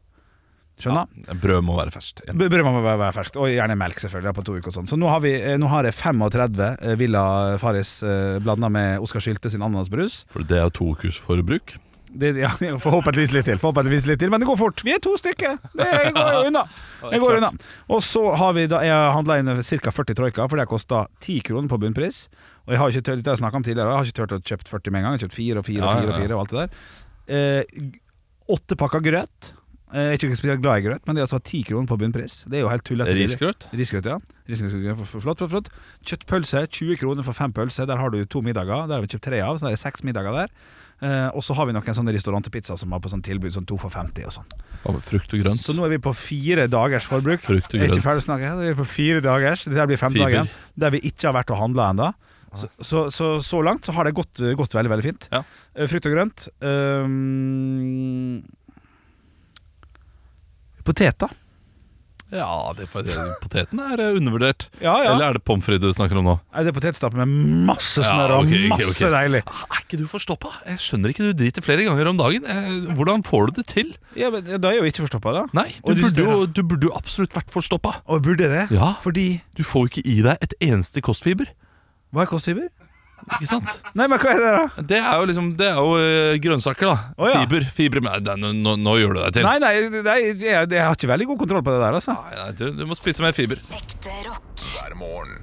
S6: Skjønner?
S5: Eh, Brød må være ferskt.
S6: B- Brød må være, være ferskt, og gjerne melk selvfølgelig da, på to uker og sånn. Så nå har, vi, eh, nå har jeg 35 eh, Villa Farris eh, blanda med Oskar Sylte sin ananasbrus.
S5: For det er jo to ukers forbruk.
S6: Det, ja, forhåpentligvis litt til, forhåpentligvis litt til, men det går fort. Vi er to stykker! Det
S5: [LAUGHS]
S6: går jo unna. Det går unna. Og så har vi da, jeg handla inn ca. 40 troika, for det har kosta 10 kroner på bunnpris. Og jeg har ikke tørt, dette har jeg snakket om tidligere, og jeg har ikke tørt å kjøpe 40 med en gang. Jeg har kjøpt 4 og 4 og
S5: Ja, ja,
S6: 4 og
S5: ja.
S6: 4 og alt det der. Eh, åtte pakker grøt. Eh, Jeg er ikke spesielt glad i grøt, men det er altså 10 kroner på bunnpris. Det er jo helt tullete. billig.
S5: Risgrøt.
S6: Risgrøt, ja. Risgrøt, for- for- flott, flott, flott. Kjøttpølse, 20 kroner for fem pølser. Der har du to middager. Der har vi kjøpt tre av, så der er seks middager der. Eh, og så har vi noen sånne restaurantpizzaer som har på sånn tilbud, sånn to for 50 og sånn.
S5: Hva med Frukt og grønt.
S6: Så nå er vi på fire dagers forbruk.
S5: [LAUGHS] Frukt og
S6: Jeg er ikke
S5: grønt.
S6: ferdig å snakke, vi er på fire dagers. Dette her blir fem
S5: Fiber.
S6: dager. Der vi ikke har vært og handla ennå. Så, så, så, så langt så har det gått, gått veldig, veldig fint.
S5: Ja.
S6: Eh, Frukt og grønt. Um, Poteter.
S5: Ja, det, det, poteten er eh, undervurdert.
S6: Ja, ja.
S5: Eller er det pommes frites du snakker om nå?
S6: Nei, Det er potetstappe med masse smør
S5: Ja,
S6: og
S5: ok, ok,
S6: masse
S5: ok.
S6: deilig.
S5: Ah, Er ikke du forstoppa? Jeg skjønner ikke, du driter flere ganger om dagen. Eh, Hvordan får du det til?
S6: Ja, men Da er jeg jo ikke forstoppa, da.
S5: Nei, du
S6: Og du
S5: burde jo
S6: stønner.
S5: du burde jo absolutt vært forstoppa.
S6: Og burde det?
S5: Ja.
S6: Fordi
S5: Du får jo ikke i deg et eneste kostfiber.
S6: Hva er kostfiber?
S5: Ikke sant?
S6: Nei, men hva er det, da?
S5: Det er jo liksom Det er jo eh, grønnsaker, da.
S6: Å, ja.
S5: Fiber. Fiber men det er- nå, nå, nå gjør du deg til.
S6: Nei, nei, nei jeg, jeg har ikke veldig god kontroll på det der, altså.
S5: Nei, du, du må spise mer fiber.
S4: hver morgen.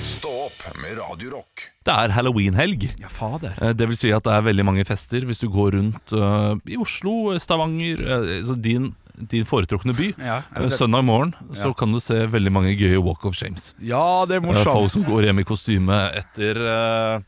S4: Stå opp med Radio Rock.
S5: Det er halloweenhelg.
S6: Ja, fader.
S5: Eh, Det vil si at det er veldig mange fester hvis du går rundt eh, i Oslo, Stavanger eh, altså din, din foretrukne by.
S6: Ja,
S5: Eh, Søndag morgen så kan du se veldig mange gøye Walk of Shames.
S6: Ja, det er
S5: Eh, Folk
S6: morsomt.
S5: som går hjem i kostyme etter, eh,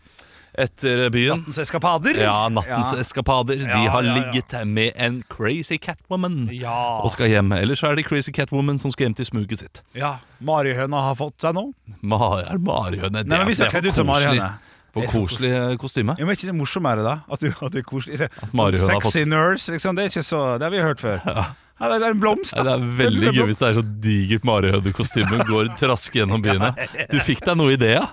S5: etter byen.
S6: Nattens eskapader.
S5: Ja, nattens
S6: Ja.
S5: eskapader. De
S6: Ja,
S5: har
S6: ja, ja.
S5: ligget med en crazy catwoman og skal hjem. Eller så er det crazy catwoman som skal hjem til smuget sitt.
S6: Ja, Marihøna har fått seg nå.
S5: Mar er marihøne.
S6: Nei, men vi ser
S5: for
S6: kledd ut som
S5: koselig.
S6: marihøne.
S5: For koselig eh, kostyme.
S6: Ja, men er ikke det morsommere, da? At du, at du er koselig? Jeg ser-
S5: marihøna har
S6: Sexy nurse, liksom. Det er ikke så Det har vi hørt før. Ja. det er en blomst,
S5: Ja,
S6: da.
S5: det er veldig
S6: liksom
S5: gøy
S6: blomst.
S5: hvis det er så digert marihønekostyme går
S6: [LAUGHS]
S5: traske gjennom byen. ja. Du fikk deg noe i det, ja?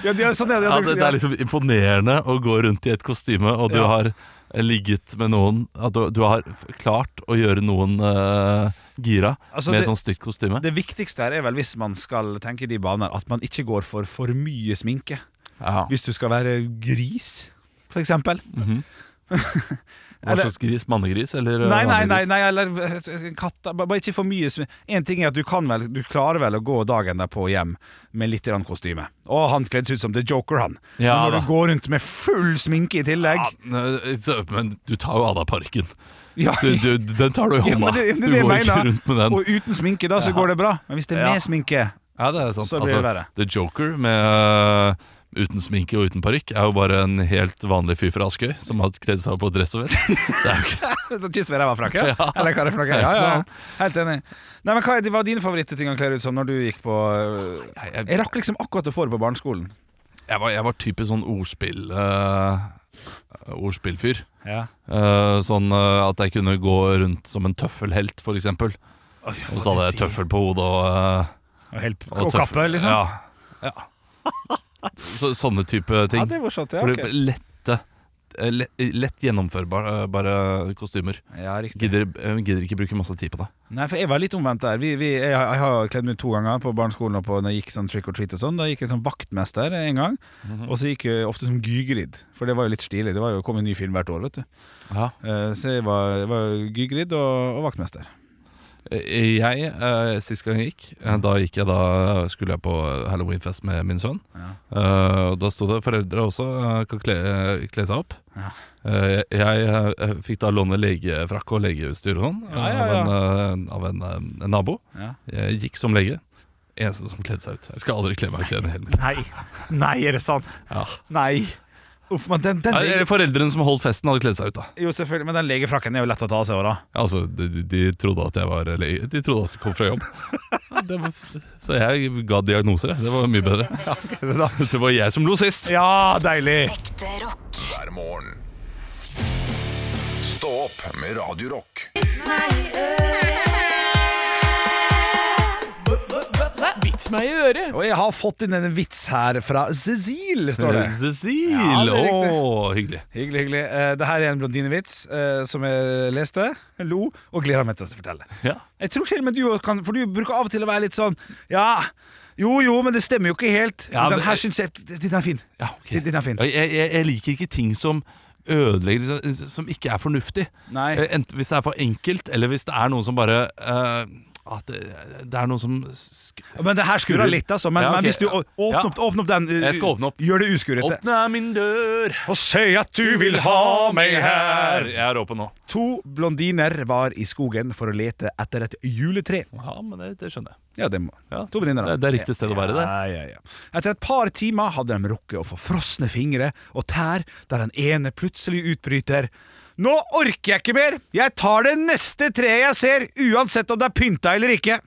S6: Ja, de er, sånn er det.
S5: ja det, det er liksom imponerende å gå rundt i et kostyme, og du
S6: Ja.
S5: har ligget med noen at du, du har klart å gjøre noen eh, gira
S6: Altså,
S5: med
S6: det-
S5: et sånt stygt kostyme.
S6: Det viktigste her er vel hvis man skal tenke i de baner, at man ikke går for for mye sminke.
S5: Ja.
S6: Hvis du skal være gris, for eksempel.
S5: Hva
S6: eller-
S5: slags gris? Mannegris eller eh,
S6: Nei, nei, nei,
S5: mannegris?
S6: nei eller eh, katta Bare bare ikke for mye smi- En ting er at du kan vel Du klarer vel å gå dagen derpå hjem med litt grann kostyme. Og han kledde seg ut som The Joker, han. Men
S5: Ja,
S6: når
S5: da.
S6: du går rundt med full sminke i tillegg
S5: Nei, så- Men du tar jo av deg parken.
S6: Ja.
S5: Du, du, den tar du i
S6: Ja, men
S5: hånda.
S6: det- det er
S5: du
S6: det jeg
S5: går ikke
S6: mener.
S5: rundt med den.
S6: Og uten sminke, da, så
S5: Ja.
S6: går det bra. Men hvis det er
S5: Ja.
S6: med sminke [LAUGHS]
S5: Ja, det er sant. Altså,
S6: Så blir det verre.
S5: The Joker med øh, uten sminke og uten parykk er jo bare en helt vanlig fyr fra Askøy som har kledd seg opp på dress og vest. [LAUGHS] Det er jo ikke
S6: Så Kyss med ræva-frakke?
S5: Ja.
S6: Eller hva er det for noe?
S5: Et
S6: Ja,
S5: eller
S6: ja.
S5: annet.
S6: Helt enig. Nei, men Hva er- var dine favorittting å kle deg ut som når du gikk på øh, Jeg rakk liksom akkurat å få det på barneskolen.
S5: Jeg var, jeg var typisk sånn ordspill øh, ordspillfyr.
S6: Ja.
S5: Øh, sånn øh, at jeg kunne gå rundt som en tøffelhelt, for eksempel.
S6: Oi,
S5: og så hadde jeg tøffel på hodet og øh,
S6: Og hel- og
S5: tøffel-
S6: kappe, liksom?
S5: Ja. ja. Så, sånne type ting.
S6: Ja, det er morsomt, ja,
S5: Fordi
S6: ok.
S5: lette, eh, lett, lett gjennomførbare eh, bare kostymer.
S6: Ja, riktig.
S5: Gidder, eh, gidder ikke bruke masse tid på det.
S6: Nei, for jeg var litt omvendt der. Vi, vi, jeg, har- jeg har kledd meg ut to ganger på barneskolen og på når jeg gikk sånn trick or treat og sånn. Da gikk jeg som vaktmester en gang,
S5: Mhm.
S6: og så gikk jeg ofte som Gygrid. For det var jo litt stilig. Det var jo, kom en ny film hvert år, vet du.
S5: Ja.
S6: Eh, Så jeg var, jeg var Gygrid og, og vaktmester.
S5: Eh, Jeg, eh, sist gang jeg gikk,
S6: Mm.
S5: eh, da gikk jeg da skulle jeg på eh, halloweenfest med min sønn. Eh, og da sto det foreldre også eh, kan kle, eh, kle seg opp.
S6: Ja.
S5: Eh, jeg eh, fikk da låne legefrakk og legeutstyr og sånn
S6: Ja,
S5: eh,
S6: ja, ja.
S5: av, en, eh, av en, eh, en nabo.
S6: Ja.
S5: Jeg gikk som lege. Eneste som kledde seg ut. Jeg skal aldri kle meg ut igjen i hele mitt liv.
S6: Nei. Nei, er det sant?
S5: Ja.
S6: Nei. Uff, men den, den
S5: Nei, eller Foreldrene som holdt festen, hadde kledd seg ut. da
S6: Jo, selvfølgelig, men den legefrakken er jo lett å ta av seg òg, da.
S5: Altså, de, de- de trodde at jeg var lege. De trodde at jeg kom fra jobb. Ja, det var, så jeg ga diagnoser, jeg. Det var mye
S6: [LAUGHS]
S5: bedre. Det var jeg som lo sist.
S6: Ja, deilig!
S4: Hver morgen. Stå opp med Radio Rock.
S6: Vits meg i øret! Og jeg har fått inn en vits her fra Cecil, står det.
S5: Cecil!
S6: Ja, det er riktig.
S5: Å, hyggelig.
S6: Hyggelig, hyggelig. Eh, Det her er en blondinevits eh, som jeg leste, lo og gleder meg til å fortelle.
S5: Ja.
S6: Jeg tror til og med du også kan For du bruker av og til å være litt sånn Ja, jo, jo, men det stemmer jo ikke helt.
S5: Ja,
S6: men
S5: men-
S6: den her syns jeg Den er fin.
S5: Ja, ok.
S6: Den er fin.
S5: Jeg, jeg, jeg liker ikke ting som ødelegger liksom, Som ikke er fornuftig.
S6: Nei.
S5: Eh, Enten hvis det er for enkelt, eller hvis det er noe som bare eh, at det, det er noe som sk
S6: Men det her skurrer litt, altså. Men,
S5: Ja, ok.
S6: men hvis du å- åpner
S5: Ja.
S6: opp, åpner opp den eh,
S5: Jeg skal åpne opp.
S6: Gjør det uskurrete.
S5: Åpne min dør
S6: Og si at du vil ha meg her.
S5: Jeg er oppe nå.
S6: To blondiner var i skogen for å lete etter et juletre.
S5: Ja, men det, det skjønner jeg.
S6: Ja, det må To blondiner, da.
S5: Det, det er riktig sted å være, det.
S6: Ja, ja, ja. Etter et par timer hadde de rukket å få frosne fingre og tær der den ene plutselig utbryter. Nå orker jeg ikke mer! Jeg tar det neste treet jeg ser, uansett om det er pynta eller ikke.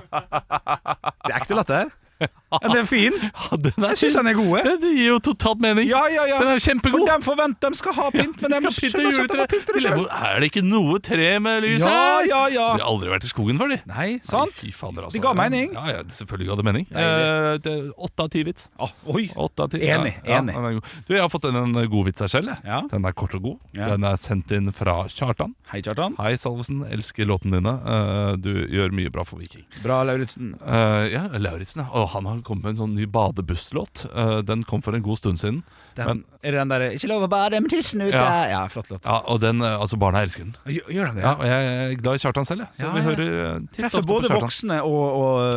S6: Det er ekte latter. Ja, den er fin.
S5: Ja, den er
S6: Jeg syns
S5: fin.
S6: den er god.
S5: Det gir jo totalt mening.
S6: Ja, ja, ja.
S5: Den er kjempegod.
S6: For de forventer de skal ha pynt, men de
S5: Skal pynte
S6: skjønner ikke at de har pynter
S5: juletre.
S6: det sjøl.
S5: Hvor Er det ikke noe tre med lys
S6: Ja,
S5: her?
S6: ja, ja.
S5: De har aldri vært i skogen før, de.
S6: Nei, sant?
S5: Fy fader, altså.
S6: Det ga mening.
S5: Ja, ja, selvfølgelig ga det mening. Eh, det er Åtte av ti vits.
S6: Ah, oi.
S5: Åtte av ti.
S6: Enig,
S5: Ja, ja,
S6: enig.
S5: den er god. du, jeg har fått en, en god vits her selv. jeg.
S6: Ja.
S5: Den er kort og god.
S6: Ja.
S5: Den er sendt inn fra Kjartan.
S6: Hei, Kjartan.
S5: Hei, Salvesen. Elsker låtene dine. Eh, du gjør mye bra for Viking.
S6: Bra, Lauritzen.
S5: Eh, ja, Lauritzen. ja. Å, han har har kommet med en sånn ny badebusslåt. Eh, Den kom for en god stund siden.
S6: Den-
S5: men-
S6: Er det den derre 'Ikke lov å bade med tissen ute'? Ja, flott låt.
S5: Ja, og den, eh, altså Barna elsker den.
S6: Gjør, gjør den det?
S5: Ja, og jeg er glad i Kjartan selv, jeg. Så
S6: Ja,
S5: vi
S6: ja.
S5: hører eh, titt
S6: Treffer
S5: ofte
S6: både
S5: på Kjartan.
S6: voksne og,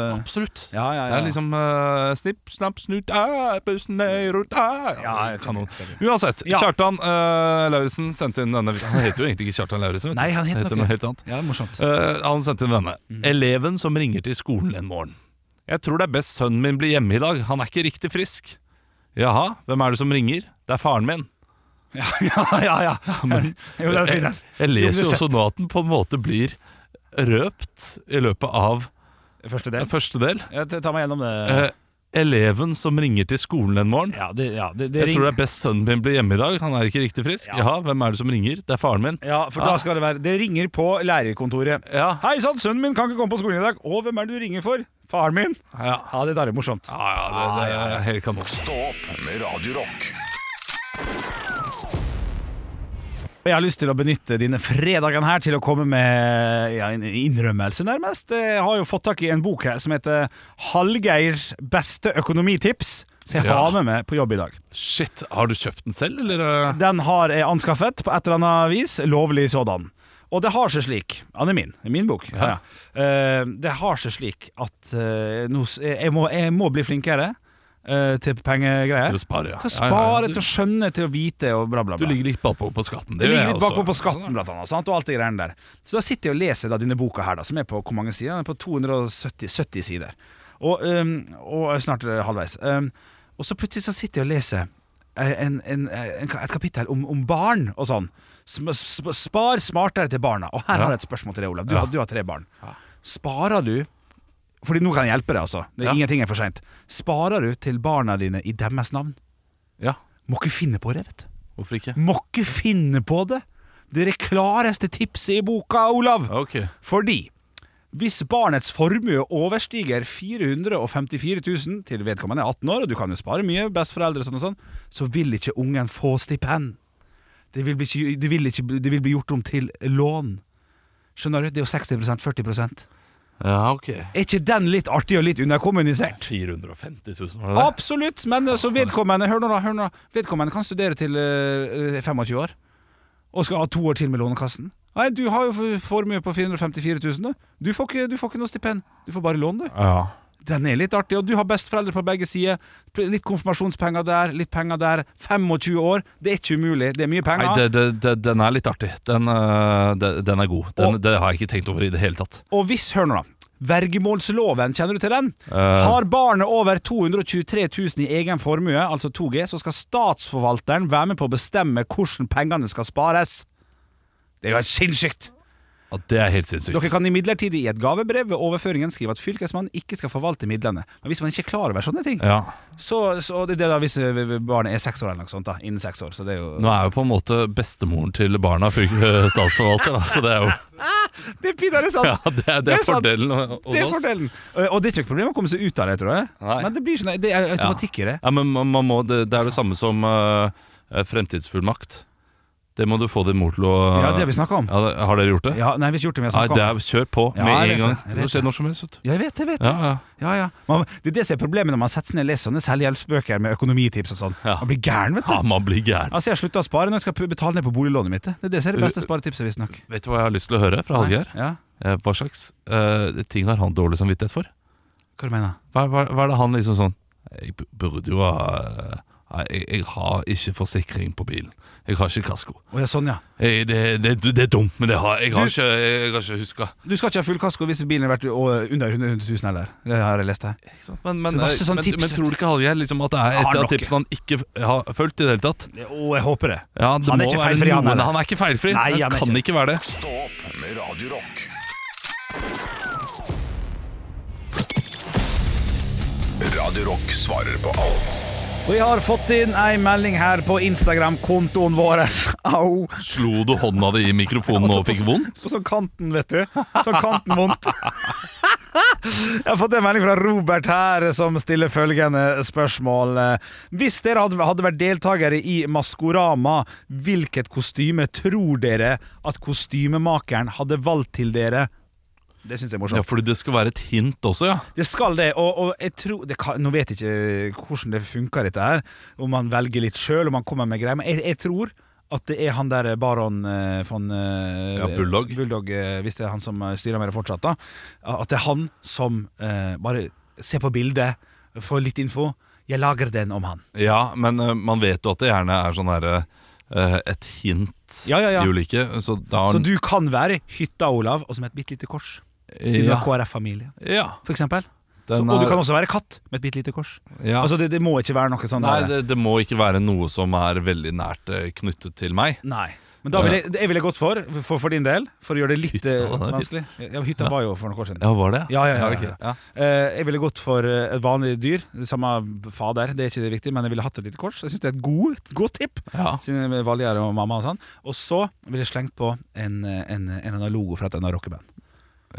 S6: og
S5: Absolutt.
S6: Ja, ja, ja.
S5: Det er liksom eh, snipp, snapp, snut, eh, æ, bussen er ut, æ. Ja, kanon. Uansett,
S6: Ja.
S5: Kjartan uh, Lauritzen sendte inn denne. Han heter jo egentlig ikke Kjartan Lauritzen. vet du.
S6: Nei, han heter,
S5: heter
S6: noe
S5: noe helt annet.
S6: Ja, det er morsomt.
S5: Eh, han sendte inn denne.
S6: Mm.
S5: Eleven som ringer til skolen en morgen. Jeg tror det er best sønnen min blir hjemme i dag. Han er ikke riktig frisk. Jaha, hvem er det som ringer? Det er faren min.
S6: [LAUGHS] Ja, ja, ja. ja.
S5: [LAUGHS] men-
S6: jo, den er fin, den.
S5: jeg, jeg leser jo
S6: Uansett.
S5: også nå at den på en måte blir røpt i løpet av
S6: Første del.
S5: Første del.
S6: Ja, ta ta meg gjennom det.
S5: Eh, eleven som ringer til skolen en morgen.
S6: det
S5: jeg tror det
S6: ring-
S5: er best sønnen min blir hjemme i dag. Han er ikke riktig frisk. Ja. hvem er det som ringer? Det er faren min.
S6: Ja, for da skal det være Det ringer på lærerkontoret. Hei sann, sønnen min kan ikke komme på skolen i dag. Å, hvem er det du ringer for? Faren min.
S5: Ja,
S6: det der er morsomt.
S5: Ja, det, det er helt kanon.
S4: Stå opp med Radio Rock.
S6: Jeg har lyst til å benytte dine fredagene her til å komme med ja, en innrømmelse, nærmest. Jeg har jo fått tak i en bok her som heter 'Hallgeirs beste økonomitips', som jeg
S5: Ja.
S6: har med meg på jobb i dag.
S5: Shit, har du kjøpt den selv, eller? eh?
S6: Den har jeg anskaffet på et eller annet vis, lovlig sådan. Og det har seg slik Han er min, det er min bok. Ja. Ja. Eh, det har seg slik at eh, nå s- jeg, må, jeg må bli flinkere eh, til pengegreier.
S5: Til å spare, ja.
S6: Eh, Til å
S5: Ja, ja, ja.
S6: spare, til å skjønne, til å vite og bla, bla,
S5: Du
S6: bla.
S5: ligger litt bakpå på skatten.
S6: Det
S5: gjør
S6: ligger
S5: jeg
S6: litt
S5: også. Sånn,
S6: bakpå på skatten, blant annet. Sant? Og alt det greiene der. Så da sitter jeg og leser da, denne boka her, da, som er på hvor mange sider? Den er på 270 70 sider. Og, øhm, og øh, snart er det halvveis. Øhm, og så plutselig så sitter jeg og leser eh, en, en, en, ka- et kapittel om, om barn og sånn. Sm- sp- Spar smartere til barna. Og her
S5: Ja.
S6: har jeg et spørsmål til deg, Olav. Du,
S5: Ja.
S6: har- du har tre barn. Sparer du Fordi nå kan jeg hjelpe deg, altså. Det er
S5: Ja.
S6: Ingenting er for seint. Sparer du til barna dine i deres navn?
S5: Ja.
S6: Må ikke finne på det, vet du.
S5: Hvorfor ikke?
S6: Må ikke finne på det. Det er det klareste tipset i boka, Olav. Fordi hvis barnets formue overstiger 454 000 til vedkommende er 18 år, og du kan jo spare mye, besteforeldre og sånn og sånn, så vil ikke ungen få stipend. Det vil, bli, ikke- det, vil ikke, det vil bli gjort om til lån. Skjønner du? Det er jo 60 40
S5: Ja, ok.
S6: Er ikke den litt artig og litt underkommunisert?
S5: 450 000, var det det?
S6: Absolutt, men eh, så vedkommende Hør nå da, hør nå da Vedkommende kan studere til eh, 25 år Og skal ha to år til med lånekassen Nei, du har jo for- formue på 454 000 da. du får, ikke, du får ikke noe stipend Du får bare lån du
S5: Ja.
S6: Den er litt artig, og du har besteforeldre på begge sider Pl- Litt konfirmasjonspenger der, litt penger der 25 år, det er ikke umulig Det er mye penger
S5: Nei, det, det, det, den er litt artig. Den, eh, det- den er god. Den,
S6: Og-
S5: det har jeg ikke tenkt over i det hele tatt.
S6: Og hvis, hør nå da Vergemålsloven, kjenner du til den?
S5: Eh.
S6: Har barnet over 223 000 i egen formue, altså 2G, så skal statsforvalteren være med på å bestemme hvordan pengene skal spares. Det er jo helt sinnssykt!
S5: Ja, det er helt sinnssykt.
S6: Dere kan imidlertid i et gavebrev ved overføringen skrive at fylkesmannen ikke skal forvalte midlene. Men hvis man ikke er klar over sånne ting,
S5: Ja.
S6: så, så det er det da hvis eh, barnet er seks år eller noe sånt, da. Innen seks år. Så det er jo
S5: Nå er jo på en måte bestemoren til barna fyr- [LAUGHS] statsforvalter, da, så det er jo
S6: Det er pinadø sant!
S5: [LAUGHS] Ja, det er, det er
S6: sant.
S5: fordelen hos oss.
S6: Det er fordelen. Eh, Og det er ikke noe problem å komme seg ut av det, tror jeg. Men det blir sånn, det er automatikk i det.
S5: Ja, men man, man må, det, det er det samme som eh, eh, fremtidsfullmakt. Det må du få din mor til å
S6: Ja, det har vi snakket om.
S5: Ja, det, har dere gjort det?
S6: Ja, nei, vi har ikke gjort det, men vi har
S5: Nei,
S6: snakket
S5: det er, kjør på
S6: Ja, jeg
S5: med
S6: vet
S5: en gang.
S6: det, jeg
S5: Det
S6: vet
S5: kan skje når som helst. vet du.
S6: Jeg vet det, vet det.
S5: Ja, ja.
S6: Ja, ja. Man, det er det som er problemet når man setter seg ned og leser sånne selvhjelpsbøker med økonomitips og sånn. Man blir gæren, vet du.
S5: Ja, Ah, man blir gæren.
S6: Altså, jeg har slutta å spare når jeg skal betale ned på boliglånet mitt. Det er det som er det beste sparetipset, visstnok.
S5: Vet du hva jeg har lyst til å høre
S6: Nei,
S5: fra Hallgeir? Eh, Hva slags eh, ting har han dårlig samvittighet for?
S6: Hva du mener
S5: Hva, hva, hva er det han liksom sånn Jeg bu- burde jo ha eh, jeg, jeg har ikke forsikring på bilen. Jeg har ikke kasko.
S6: Å ja, sånn, ja.
S5: Jeg, det, det, det er dumt, men det har, jeg har
S6: Du-
S5: ikke, jeg har ikke huska.
S6: Du skal ikke ha full kasko hvis bilen har vært å, under 100 000 heller. Det har jeg lest her.
S5: Men,
S6: Så
S5: men,
S6: masse sånne
S5: men,
S6: tips,
S5: men
S6: vet
S5: tror du ikke Hallgeir liksom at det er
S6: Har
S5: et
S6: han
S5: av
S6: nok?
S5: tipsene han ikke har fulgt i det hele tatt?
S6: Å, jeg håper det.
S5: Ja, det
S6: Han er
S5: må
S6: ikke
S5: være
S6: feilfri, han
S5: noen-
S6: heller.
S5: Han er ikke feilfri.
S6: Nei,
S5: det
S6: han er
S5: kan
S6: ikke
S5: ikke være det.
S4: Stå opp med Radio Rock. Radio Rock svarer på alt.
S6: Og jeg har fått inn ei melding her på Instagram-kontoen vår. [LAUGHS] Au!
S5: Slo du hånda di i mikrofonen og fikk vondt?
S6: På sånn kanten, vet du. Sånn kanten vondt. Jeg har fått en melding fra Robert her, som stiller følgende spørsmål. Hvis dere hadde- hadde vært deltakere i Maskorama, hvilket kostyme tror dere at kostymemakeren hadde valgt til dere? Det syns jeg er
S5: Ja,
S6: morsomt.
S5: fordi det skal være et hint også, ja.
S6: Det skal det, og, og jeg tror det kan, Nå vet jeg ikke eh, hvordan det funker, dette her. Om man velger litt sjøl, om man kommer med greier. Men jeg, jeg tror at det er han der baron eh, von eh,
S5: Ja, Bulldog.
S6: eh, hvis det er han som eh, styrer med det fortsatt, da. At det er han som eh, bare ser på bildet, får litt info. Jeg lager den om han.
S5: Ja, men eh, man vet jo at det gjerne er sånn herre et hint
S6: Ja, ja, ja.
S5: i ulike. Så da
S6: Så du kan være hytta, Olav, og som et bitte lite kors. Siden du
S5: Ja.
S6: har KrF-familie,
S5: Ja.
S6: for eksempel. Så,
S5: Den
S6: og du
S5: er-
S6: kan også være katt med et bitte lite kors.
S5: Ja.
S6: Altså, det, det må ikke være noe sånn
S5: Nei,
S6: der-
S5: det, det må ikke være noe som er veldig nært eh, knyttet til meg.
S6: Nei. Men da ville jeg, jeg ville gått for, for, for din del, for å gjøre det litt eh,
S5: den er fin.
S6: vanskelig. Ja, hytta
S5: Ja.
S6: var jo for noen år siden.
S5: Ja, var det?
S6: Ja, ja, ja,
S5: Ja, ok,
S6: ja. Eh, jeg ville gått for eh, et vanlig dyr. Det Samme fader, det er ikke det viktige, men jeg ville hatt et lite kors. Jeg synes det er et god, et godt tipp,
S5: Ja.
S6: siden jeg er valgjær og mamma og sånn. Og så ville jeg slengt på en, eh, en, en eller annen logo fra et eller annet rockeband.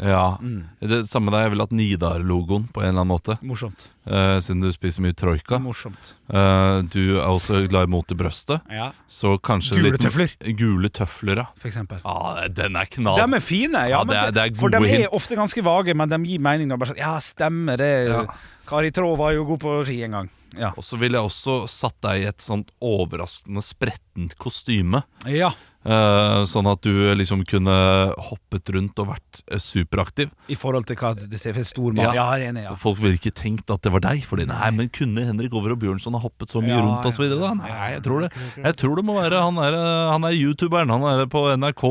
S5: Ja.
S6: Mm.
S5: Det samme der, jeg ville hatt Nidar-logoen på en eller annen måte.
S6: Morsomt.
S5: Eh, siden du spiser mye troika.
S6: Morsomt.
S5: Eh, du er også glad i mot i brøstet.
S6: Ja.
S5: Så kanskje
S6: Gule
S5: litt-
S6: tøfler.
S5: Gule tøfler, ja.
S6: For eksempel.
S5: Ja, den er knall.
S6: De er fine, ja,
S5: Ja,
S6: men
S5: det er- det er
S6: for de
S5: gode
S6: er
S5: hint.
S6: ofte ganske vage, men de gir mening. når de Bare, sånn, ja, stemmer det.
S5: Ja.
S6: Kari Traa var jo god på ski en gang.
S5: Og så ville jeg også satt deg i et sånt overraskende sprettent kostyme.
S6: Ja.
S5: Eh, sånn at du liksom kunne hoppet rundt og vært eh, superaktiv.
S6: I forhold til hva det ser for en stor mann. Ja, jeg er enig, ja.
S5: Så folk ville ikke tenkt at det var deg. Fordi nei, men kunne Henrik Over og Bjørnson ha hoppet så mye
S6: Ja,
S5: rundt og så videre da? Nei, jeg tror det. Jeg tror det må være han er, eh, han er youtuberen. Han er på NRK.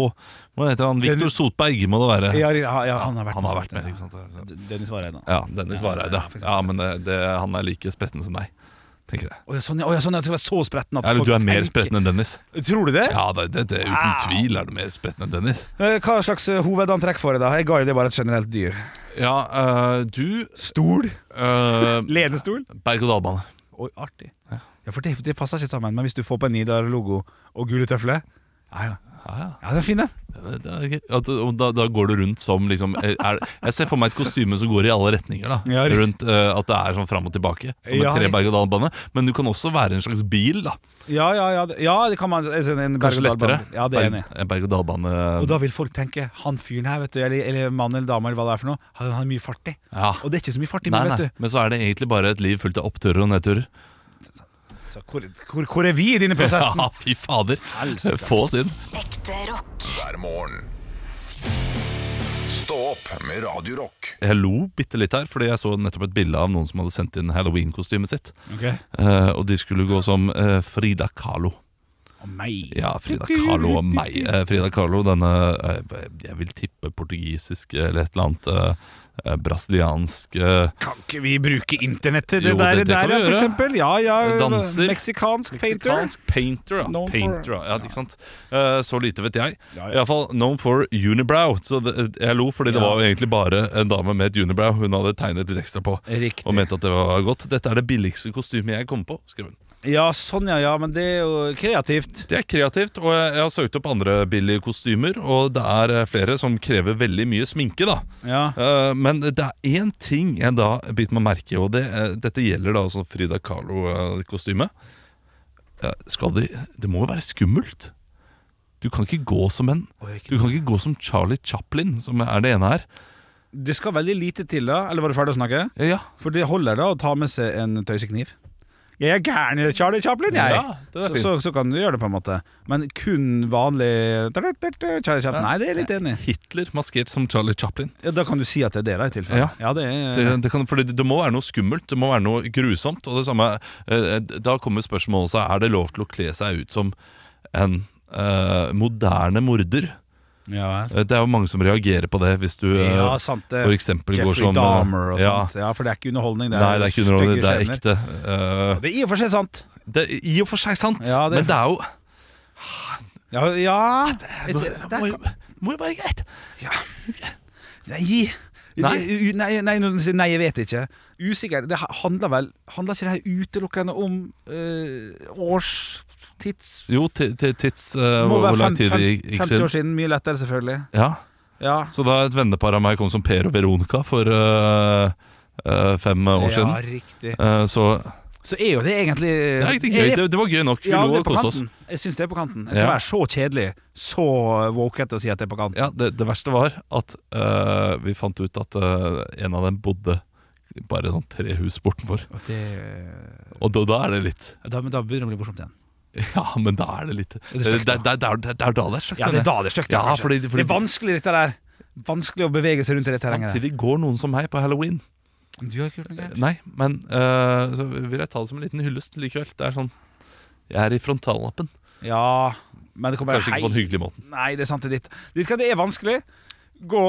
S5: Hva heter han? Viktor Sotberg må det være.
S6: Ja, ja, ja, han har vært
S5: Han
S6: med.
S5: har vært med, ikke sant?
S6: Dennis Vareide.
S5: Ja, Dennis Vareide. Ja, men det, det, han er like spretten som deg, tenker jeg.
S6: Å ja, sånn, ja, å ja, sånn, ja, du skal være så spretten at
S5: Ja, Eller
S6: folk
S5: du er mer
S6: tenker-
S5: spretten enn Dennis.
S6: Tror du det?
S5: Ja, det, det, det, uten
S6: Ah.
S5: tvil er du mer spretten enn Dennis.
S6: Eh, Hva slags eh, hovedantrekk får jeg da? Jeg ga jo det bare et generelt dyr.
S5: Ja, eh, du
S6: Stol.
S5: Lenestol. Berg-og-dal-bane.
S6: Oi, artig. Ja, for det, det passer ikke sammen. Men hvis du får på en Nidar-logo og gule tøfler Ja, ja.
S5: ja.
S6: Ja, den er fin, den.
S5: Det er gøy. At- og Da, da går du rundt som liksom er, Jeg ser for meg et kostyme som går i alle retninger. da
S6: Ja, riktig.
S5: Rundt eh, At det er sånn fram og tilbake, som
S6: Ja, riktig.
S5: en tre-berg-og-dal-bane. Men du kan også være en slags bil. da
S6: Ja, ja, ja. det- Ja, det kan man altså, en
S5: Kanskje
S6: berg-og-dal-bane.
S5: lettere.
S6: Ja, det er enig.
S5: Berg- en berg-og-dal-bane
S6: Og da vil folk tenke han fyren her, vet du, eller, eller mann eller dame, eller hva det er for noe, han han har mye fart i.
S5: ja.
S6: Og det er ikke så mye fart i
S5: Nei,
S6: meg,
S5: nei,
S6: vet du.
S5: Men så er det egentlig bare et liv fullt av oppturer og nedturer.
S6: Så hvor, hvor, hvor er vi i denne [LAUGHS] prosessen?
S5: Ja, fy fader.
S6: Helsike.
S5: Få oss inn.
S4: Ekte rock. Hver morgen. Stå opp med Radio Rock.
S5: Jeg lo bitte litt her, fordi jeg så nettopp et bilde av noen som hadde sendt inn halloween-kostymet sitt.
S6: Ok.
S5: Eh, og de skulle gå som eh, Frida Kahlo.
S6: Å, meg.
S5: Ja, Frida Kahlo og meg. Eh, Frida Kahlo, denne eh, Jeg vil tippe portugisisk eller et eller annet eh, eh, brasiliansk eh,
S6: Kan ikke vi bruke internett til det
S5: Jo,
S6: der,
S5: det- det
S6: der
S5: kan
S6: ja,
S5: vi
S6: for
S5: gjøre.
S6: eksempel? Ja, ja,
S5: Danser.
S6: Meksikansk painter.
S5: Meksikansk painter, ja.
S6: Known for-
S5: Painter, ja, ikke sant? Eh, så lite vet jeg.
S6: Ja, ja.
S5: Iallfall known for unibrow. Så det, jeg lo, fordi det
S6: Ja.
S5: var jo egentlig bare en dame med et unibrow hun hadde tegnet litt ekstra på.
S6: Riktig.
S5: Og mente at det var godt. Dette er det billigste kostymet jeg kom på, skrev hun.
S6: Ja, sånn ja, ja, men det er jo kreativt.
S5: Det er kreativt, og jeg, jeg har søkt opp andre billige kostymer, og det er eh, flere som krever veldig mye sminke, da.
S6: Ja.
S5: Eh, men det er én ting jeg da bit meg merke i, og det, eh, dette gjelder da altså Frida Kahlo-kostyme. Eh, skal de Det må jo være skummelt? Du kan ikke gå som en Du kan ikke gå som Charlie Chaplin, som er det ene her.
S6: Det skal veldig lite til da, eller var du ferdig å snakke?
S5: Ja,
S6: For det holder da å ta med seg en tøysekniv. Jeg er gæren i Charlie Chaplin, jeg!
S5: Ja, det er
S6: så,
S5: fint.
S6: så, så kan du gjøre det på en måte. Men kun vanlig Charlie Chaplin Nei, det er jeg litt enig i.
S5: Hitler maskert som Charlie Chaplin.
S6: Ja, da kan du si at det er det, da, i tilfelle.
S5: Ja.
S6: Ja, det er
S5: Det, det, kan, fordi det det må være noe skummelt, det må være noe grusomt. Og det samme, eh, da kommer spørsmålet også Er det lov til å kle seg ut som en eh, moderne morder.
S6: Ja vel.
S5: Eh, Det er jo mange som reagerer på det hvis du eh,
S6: Ja, sant det.
S5: for eksempel går
S6: Jeffrey
S5: som eh,
S6: Dahmer og
S5: ja,
S6: sånt. Ja, for det er ikke underholdning. Det er,
S5: Nei, det er ikke underholdning,
S6: stygge
S5: det er
S6: scener.
S5: ekte. Eh,
S6: Det er i og for seg sant.
S5: det er i og for seg sant,
S6: Ja, det er-
S5: men det er jo
S6: Ja, ja.
S5: det,
S6: Det,
S5: det må, jo, må jo være greit.
S6: nei.
S5: Nei.
S6: Nei, nei, nei, når den sier nei, jeg vet ikke. Usikker. Det handler vel Handler ikke det her utelukkende om eh, års tids
S5: Jo, ti- ti- tids eh,
S6: Det må
S5: hvor,
S6: være
S5: hvor lang
S6: fem-
S5: tid det
S6: fem-
S5: gikk
S6: 50
S5: gikk
S6: år
S5: siden.
S6: siden. Mye lettere, selvfølgelig.
S5: Ja.
S6: Ja.
S5: Så da et vennepar av meg kom som Per og Veronica for eh, eh, fem år
S6: Ja,
S5: siden.
S6: riktig.
S5: Eh, så
S6: så er jo det egentlig
S5: Det er egentlig gøy. Det, det var gøy nok. Vi
S6: Ja,
S5: lo
S6: det er
S5: og
S6: på
S5: koste oss.
S6: kanten. Jeg syns det er på kanten. Jeg skal
S5: Ja.
S6: være så kjedelig, så wokete og si at det er på kanten.
S5: Ja, det, det verste var at eh, vi fant ut at eh, en av dem bodde bare sånn tre hus bortenfor.
S6: Og det- eh,
S5: Og da, da er det litt
S6: Da, men da begynner det å bli morsomt igjen.
S5: Ja, men da er det litt Det
S6: det
S5: er,
S6: stygt,
S5: det er, det er, det er da det er stygt.
S6: Ja, det er da det er stygt.
S5: Ja,
S6: kanskje.
S5: fordi, fordi
S6: det er vanskelig, dette der. Vanskelig å bevege seg rundt i det terrenget.
S5: Samtidig går noen som meg på halloween.
S6: Du har ikke gjort noe gærent.
S5: Nei, men eh, så vil jeg ta det som en liten hyllest likevel. Det er sånn Jeg er i frontallappen.
S6: Ja, men det kommer
S5: Kanskje ikke på den
S6: Hei.
S5: hyggelige måten.
S6: Nei, det er sant det er ditt. Ditt kan- Det er vanskelig. Gå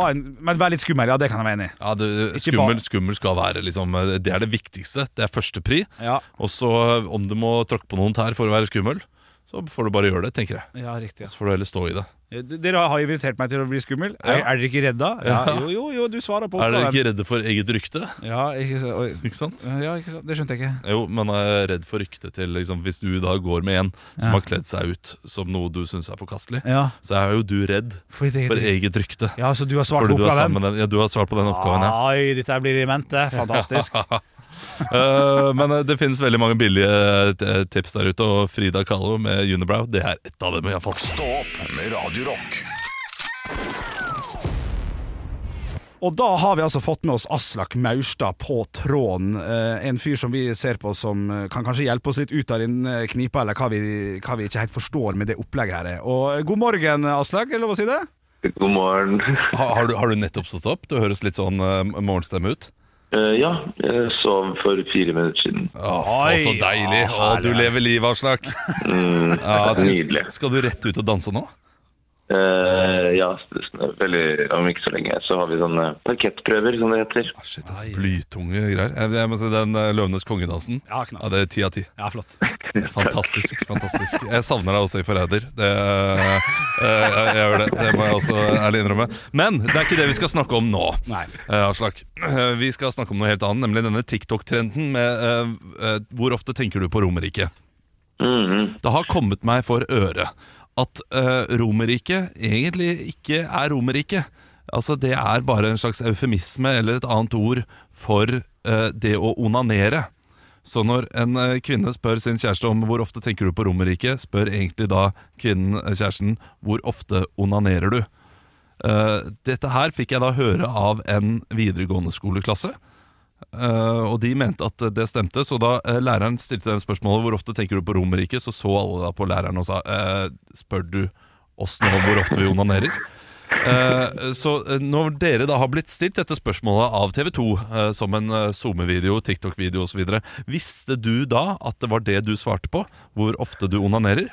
S6: ha en, Men vær litt skummel, ja, det kan jeg være enig i.
S5: Ja, det,
S6: Ikke bare-
S5: skummel, skummel skal være liksom Det er det viktigste. Det er førstepri.
S6: Ja.
S5: Og så om du må tråkke på noen tær for å være skummel, så får du bare gjøre det, tenker jeg.
S6: Ja, riktig, ja.
S5: Så får du heller stå i det.
S6: D- Dere har jo invitert meg til å bli skummel. Er,
S5: Ja.
S6: er dere ikke redda? Ja.
S5: Ja.
S6: Jo, jo, jo, du svarer på
S5: Er dere
S6: oppgaven.
S5: ikke redde for eget rykte?
S6: Ja, ikke, så- oi.
S5: Ikke sant?
S6: Ja, ikke sant? Det skjønte jeg ikke.
S5: Jo, men jeg er redd for ryktet til liksom, Hvis du da går med en som
S6: Ja.
S5: har kledd seg ut som noe du syns er forkastelig,
S6: Ja.
S5: så er jo du redd
S6: For ditt eget
S5: for
S6: rykte.
S5: eget rykte.
S6: Ja, så du har svart
S5: Fordi
S6: på
S5: du er
S6: oppgaven?
S5: sammen med den, ja, du har svart på den oppgaven, ja.
S6: Oi, dette blir i mente. [LAUGHS] Fantastisk. Ah.
S5: [LAUGHS] Eh, men eh, det finnes veldig mange billige eh, tips der ute, og Frida Kahlo med Unibrow, det er ett av dem jeg har fått.
S4: Stå opp med Radio Rock.
S6: Og da har vi altså fått med oss Aslak Maurstad på tråden. Eh, en fyr som vi ser på som eh, kan kanskje hjelpe oss litt ut av den eh, knipa, eller hva vi, hva vi ikke helt forstår med det opplegget her. Og eh, god morgen, Aslak. Er det lov å si det?
S10: God morgen.
S5: Har, har, du, har du nettopp stått opp? Du høres litt sånn eh, morgenstemme ut.
S10: Eh, ja, jeg sov for fire minutter siden.
S5: Åh, så deilig! Å, du lever livet, Aslak. [LAUGHS]
S10: Mm,
S5: Ja, skal,
S10: nydelig.
S5: skal du rett ut og danse nå?
S10: Eh, ja, s- veldig, om ikke så lenge så har vi sånne parkettprøver, som det heter.
S5: Ah, Blytunge greier. Jeg, jeg må si Den eh, Løvenes kongedansen,
S6: Ja, knall.
S5: det er ti av ti.
S6: Ja, flott.
S5: [LAUGHS] Fantastisk. fantastisk Jeg savner deg også i Forræder. Det, eh, jeg, jeg gjør det. Det må jeg også ærlig innrømme. Men det er ikke det vi skal snakke om nå.
S6: Nei.
S5: Eh, Aslak, Eh, vi skal snakke om noe helt annet, nemlig denne TikTok-trenden med eh, eh, Hvor ofte tenker du på Romerike? Det har kommet meg for øre at uh, Romerike egentlig ikke er Romerike. Altså Det er bare en slags eufemisme eller et annet ord for eh, det å onanere. Så når en eh, kvinne spør sin kjæreste om hvor ofte tenker du på Romerike, spør egentlig da kvinnen, eh, kjæresten, hvor ofte onanerer du? Eh, dette her fikk jeg da høre av en videregående skoleklasse. Eh, og de mente at det stemte, så da eh, læreren stilte dem spørsmålet hvor ofte tenker du på Romerike, så så alle da på læreren og sa eh, spør du oss nå om hvor ofte vi onanerer? Eh, så eh, når dere da har blitt stilt dette spørsmålet av TV 2 eh, som en eh, SoMe-video, TikTok-video osv., visste du da at det var det du svarte på? Hvor ofte du onanerer?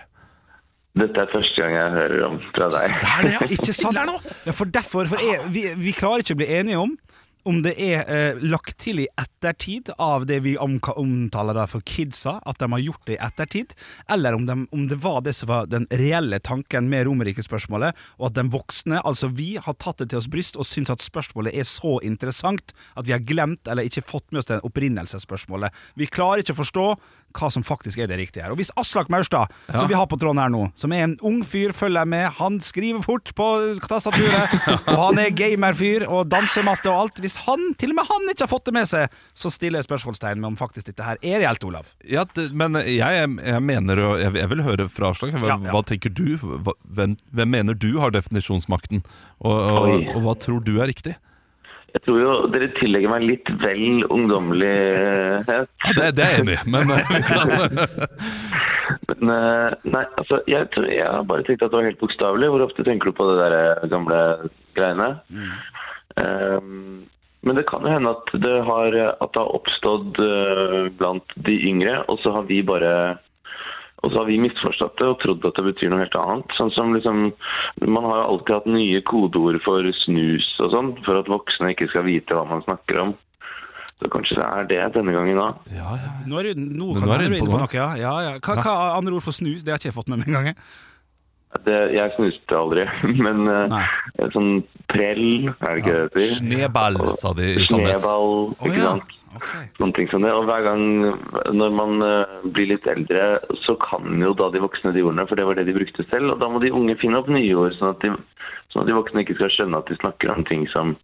S10: Dette er første gang jeg hører om fra deg.
S6: Ikke sant? Ja, for derfor, for jeg, vi, vi klarer ikke å bli enige om om det er eh, lagt til i ettertid av det vi omka- omtaler da for kidsa, at de har gjort det i ettertid, eller om, de, om det var det som var den reelle tanken med Romerike-spørsmålet, og at de voksne, altså vi, har tatt det til oss bryst og syns at spørsmålet er så interessant at vi har glemt eller ikke fått med oss det opprinnelsesspørsmålet. Vi klarer ikke å forstå hva som faktisk er det riktige her. Og hvis Aslak Maurstad,
S5: Ja.
S6: som vi har på tråden her nå, som er en ung fyr, følger jeg med, han skriver fort på
S10: [LAUGHS]
S6: tastaturet, og han er gamerfyr og dansematte og alt. Hvis han, til og med han, ikke har fått det med seg, så stiller jeg spørsmålstegn med om faktisk dette her er reelt, Olav.
S5: Ja, det, men jeg, jeg mener og jeg, jeg vil høre fra Aslak. Hva,
S6: Ja, ja.
S5: hva tenker du? Hva, hvem, hvem mener du har definisjonsmakten? Og, og,
S10: Oi.
S5: og hva tror du er riktig?
S10: Jeg tror jo dere tillegger meg litt vel [LAUGHS] ungdommelighet.
S5: Ja, det, det er jeg enig i, men eh, [LAUGHS] vi kan
S10: Men, eh, nei, altså, jeg, tror, jeg har bare tenkt at det var helt bokstavelig. Hvor ofte tenker du på det der eh, gamle greiene? Ehm, men det kan jo hende at det har, at det har oppstått eh, blant de yngre, og så har vi bare og så har vi misforstått det og trodd at det betyr noe helt annet. Sånn som liksom, Man har jo alltid hatt nye kodeord for snus og sånn, for at voksne ikke skal vite hva man snakker om. Så kanskje det er det denne gangen òg.
S6: Nå er du, nå
S10: Men
S6: kan du
S10: nå er du
S6: være
S10: inne på
S6: inne på
S10: noe.
S6: noe. Ja, ja, ja. Hva, hva andre ord for snus? Det har ikke jeg fått med meg engang. jeg.
S10: Det- Jeg snuste aldri, [LAUGHS] men eh, sånn prell, er det ikke det det heter?
S5: Sneball, sa de i Sandnes.
S10: Sneball, ikke sant? Noen ting som det. Og hver gang når man eh, blir litt eldre, så kan jo da de voksne de ordene, for det var det de brukte selv. Og da må de unge finne opp nye ord, sånn at de, sånn sånn at de voksne ikke skal skjønne at de snakker om ting som,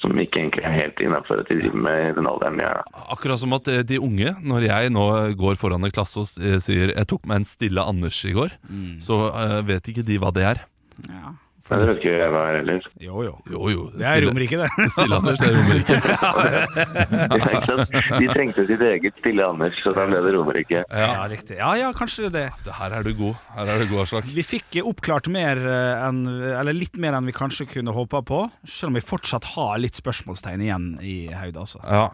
S10: som ikke egentlig er helt innafor at de driver med i den alderen de er. da.
S5: Akkurat som at eh, de unge, når jeg nå går foran en klasse og s- eh, sier 'jeg tok meg en stille Anders i går',
S6: Mm.
S5: så eh, vet ikke de hva det er.
S10: Nei, det vet ikke jeg hva er
S5: [LAUGHS]
S10: heller. [LAUGHS]
S6: Jo, jo.
S5: Jo, jo.
S6: Det er
S5: Stille-
S6: Romerike, det.
S5: [LAUGHS] Stille Anders, det er
S6: [LAUGHS]
S5: Romerike.
S10: Ja, ikke sant? De trengte sitt eget stille Anders, så da ble det Romerike.
S6: Ja, riktig. Ja, ja, kanskje det.
S5: Her er du god. Her er du god, Aslak.
S6: Vi fikk oppklart mer eh, enn, eller litt mer enn vi kanskje kunne håpa på, selv om vi fortsatt har litt spørsmålstegn igjen i hodet. Altså.
S5: Ja,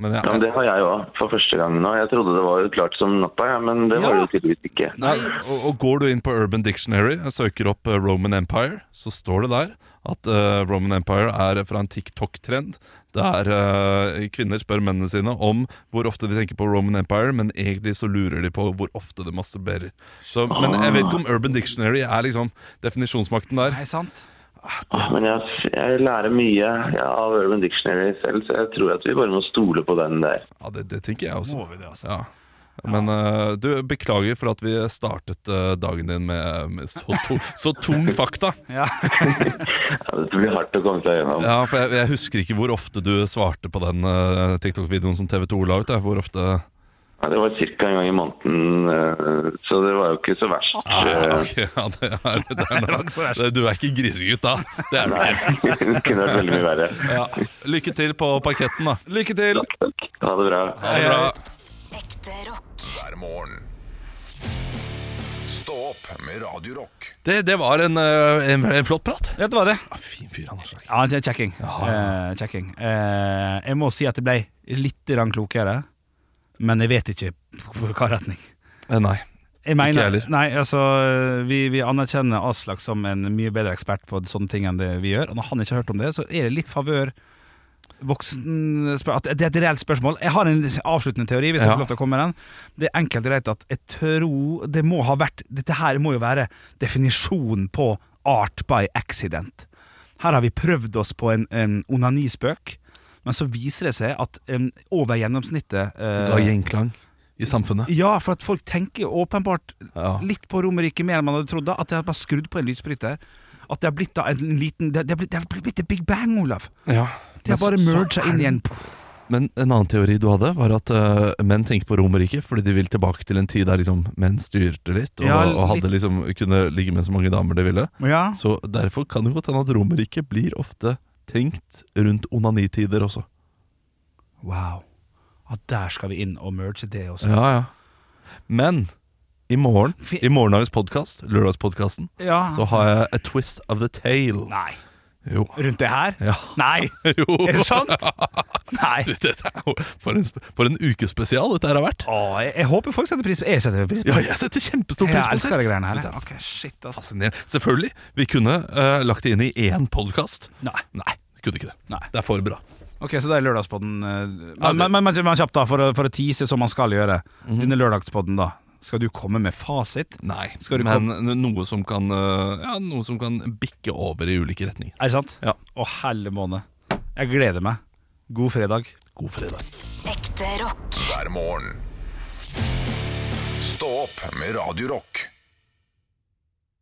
S5: men,
S10: Ja, men Det har jeg òg, for første gang nå. Jeg trodde det var jo klart som natta, ja, men det var det jo tydeligvis ikke.
S5: Nei, og, og går du inn på Urban Dictionary og søker opp eh, Roman Empire, så står det der at eh, Roman Empire er fra en TikTok-trend der eh, kvinner spør mennene sine om hvor ofte de tenker på Roman Empire, men egentlig så lurer de på hvor ofte de masturberer. Så, men jeg vet ikke om Urban Dictionary er liksom definisjonsmakten der.
S6: Nei, sant?
S10: Ah, Men jeg, jeg lærer mye av Urban Dictionary selv, så jeg tror at vi bare må stole på den der.
S5: Ja, det, det tenker jeg også.
S6: Må vi det, altså?
S5: Ja. Men eh, du, beklager for at vi startet eh, dagen din med, med så, to, så tung fakta.
S6: Ja.
S10: det blir hardt å komme seg gjennom.
S5: Ja, for jeg, jeg husker ikke hvor ofte du svarte på den eh, TikTok-videoen som TV2 la ut. jeg. Hvor ofte
S10: Ja, det var ca. en gang i måneden, eh, så det var jo ikke så verst. Eh,
S5: Ah, ok, ja, det er, det er noe. [LAUGHS] Det- Du er ikke grisegutt, da. Det er du ikke.
S10: [LAUGHS] Det kunne vært veldig mye verre.
S5: Ja. Lykke til på parketten, da. Lykke til!
S10: Ha det bra.
S5: Ha det bra.
S4: hver morgen. Stå opp med Radio Rock.
S5: Det, det var en, eh, en, en flott prat.
S6: Ja, det var det.
S5: Fin fyr, han altså. Aslak.
S6: Ja, det er checking. Eh, checking. Eh, jeg må si at jeg ble litt grann klokere, men jeg vet ikke på hva retning.
S5: Eh, Nei.
S6: Jeg
S5: Ikke
S6: mener,
S5: jeg heller.
S6: nei, altså, vi, vi anerkjenner Aslak som en mye bedre ekspert på sånne ting enn det vi gjør. Og når han ikke har hørt om det, så er det litt favør voksen spør- at Det er et reelt spørsmål. Jeg har en avsluttende teori, hvis jeg
S5: Ja.
S6: får lov til å komme med den. Det er enkelt og greit at jeg tror det må ha vært Dette her må jo være definisjonen på art by accident. Her har vi prøvd oss på en, en onanispøk, men så viser det seg at em, over gjennomsnittet eh,
S5: Ga gjenklang i samfunnet.
S6: ja, for at folk tenker åpenbart
S5: Ja.
S6: litt på Romerike mer enn man hadde trodd. da, At de har bare skrudd på en lysbryter. At det har blitt da en liten Det har blitt, det har blitt et Big Bang, Olav.
S5: Ja.
S6: De har bare merga inn i en
S5: Men en annen teori du hadde, var at eh, menn tenker på Romerriket fordi de vil tilbake til en tid der liksom, menn styrte litt, og,
S6: Ja,
S5: og
S6: litt-
S5: hadde liksom, kunne ligge med så mange damer de ville.
S6: Ja.
S5: Så derfor kan det godt hende at Romerriket blir ofte tenkt rundt onanitider også.
S6: Wow. At der skal vi inn og merge det også.
S5: Ja, ja. Men i morgen, i morgendagens podkast, lørdagspodkasten,
S6: Ja.
S5: så har jeg A Twist of the Tale.
S6: Nei.
S5: Jo. [LAUGHS]
S6: Rundt det her?
S5: Ja.
S6: Nei!
S5: [LAUGHS] jo.
S6: Er det sant? Nei.
S5: Du, dette er jo for en, sp- for en ukespesial dette her har vært.
S6: Å, jeg, jeg håper folk setter pris på Jeg setter pris på
S5: Ja, jeg setter kjempestor
S6: Jeg
S5: pris på det.
S6: elsker de greiene her.
S5: Dette er
S6: Ok, shit, altså.
S5: Fascinerende. Selvfølgelig. Vi kunne eh, lagt det inn i én podkast.
S6: Nei.
S5: Nei, vi kunne ikke det.
S6: Nei.
S5: Det er for bra.
S6: Ok, Så det er lørdagspodden. eh,
S5: Ja, Mhm.
S6: Men, men, men, men, men kjapt, da, for, å- for å tease som man skal gjøre. Denne lørdagspodden, da. Skal du komme med fasit?
S5: Nei,
S6: Skal du
S5: men
S6: komme-
S5: noe, som kan, eh, ja, noe som kan bikke over i ulike retninger.
S6: Er det sant?
S5: Ja.
S6: Å, helle måned. Jeg gleder meg. God fredag.
S5: God fredag.
S4: Ekte rock. Hver morgen. Stå opp med Radio Rock.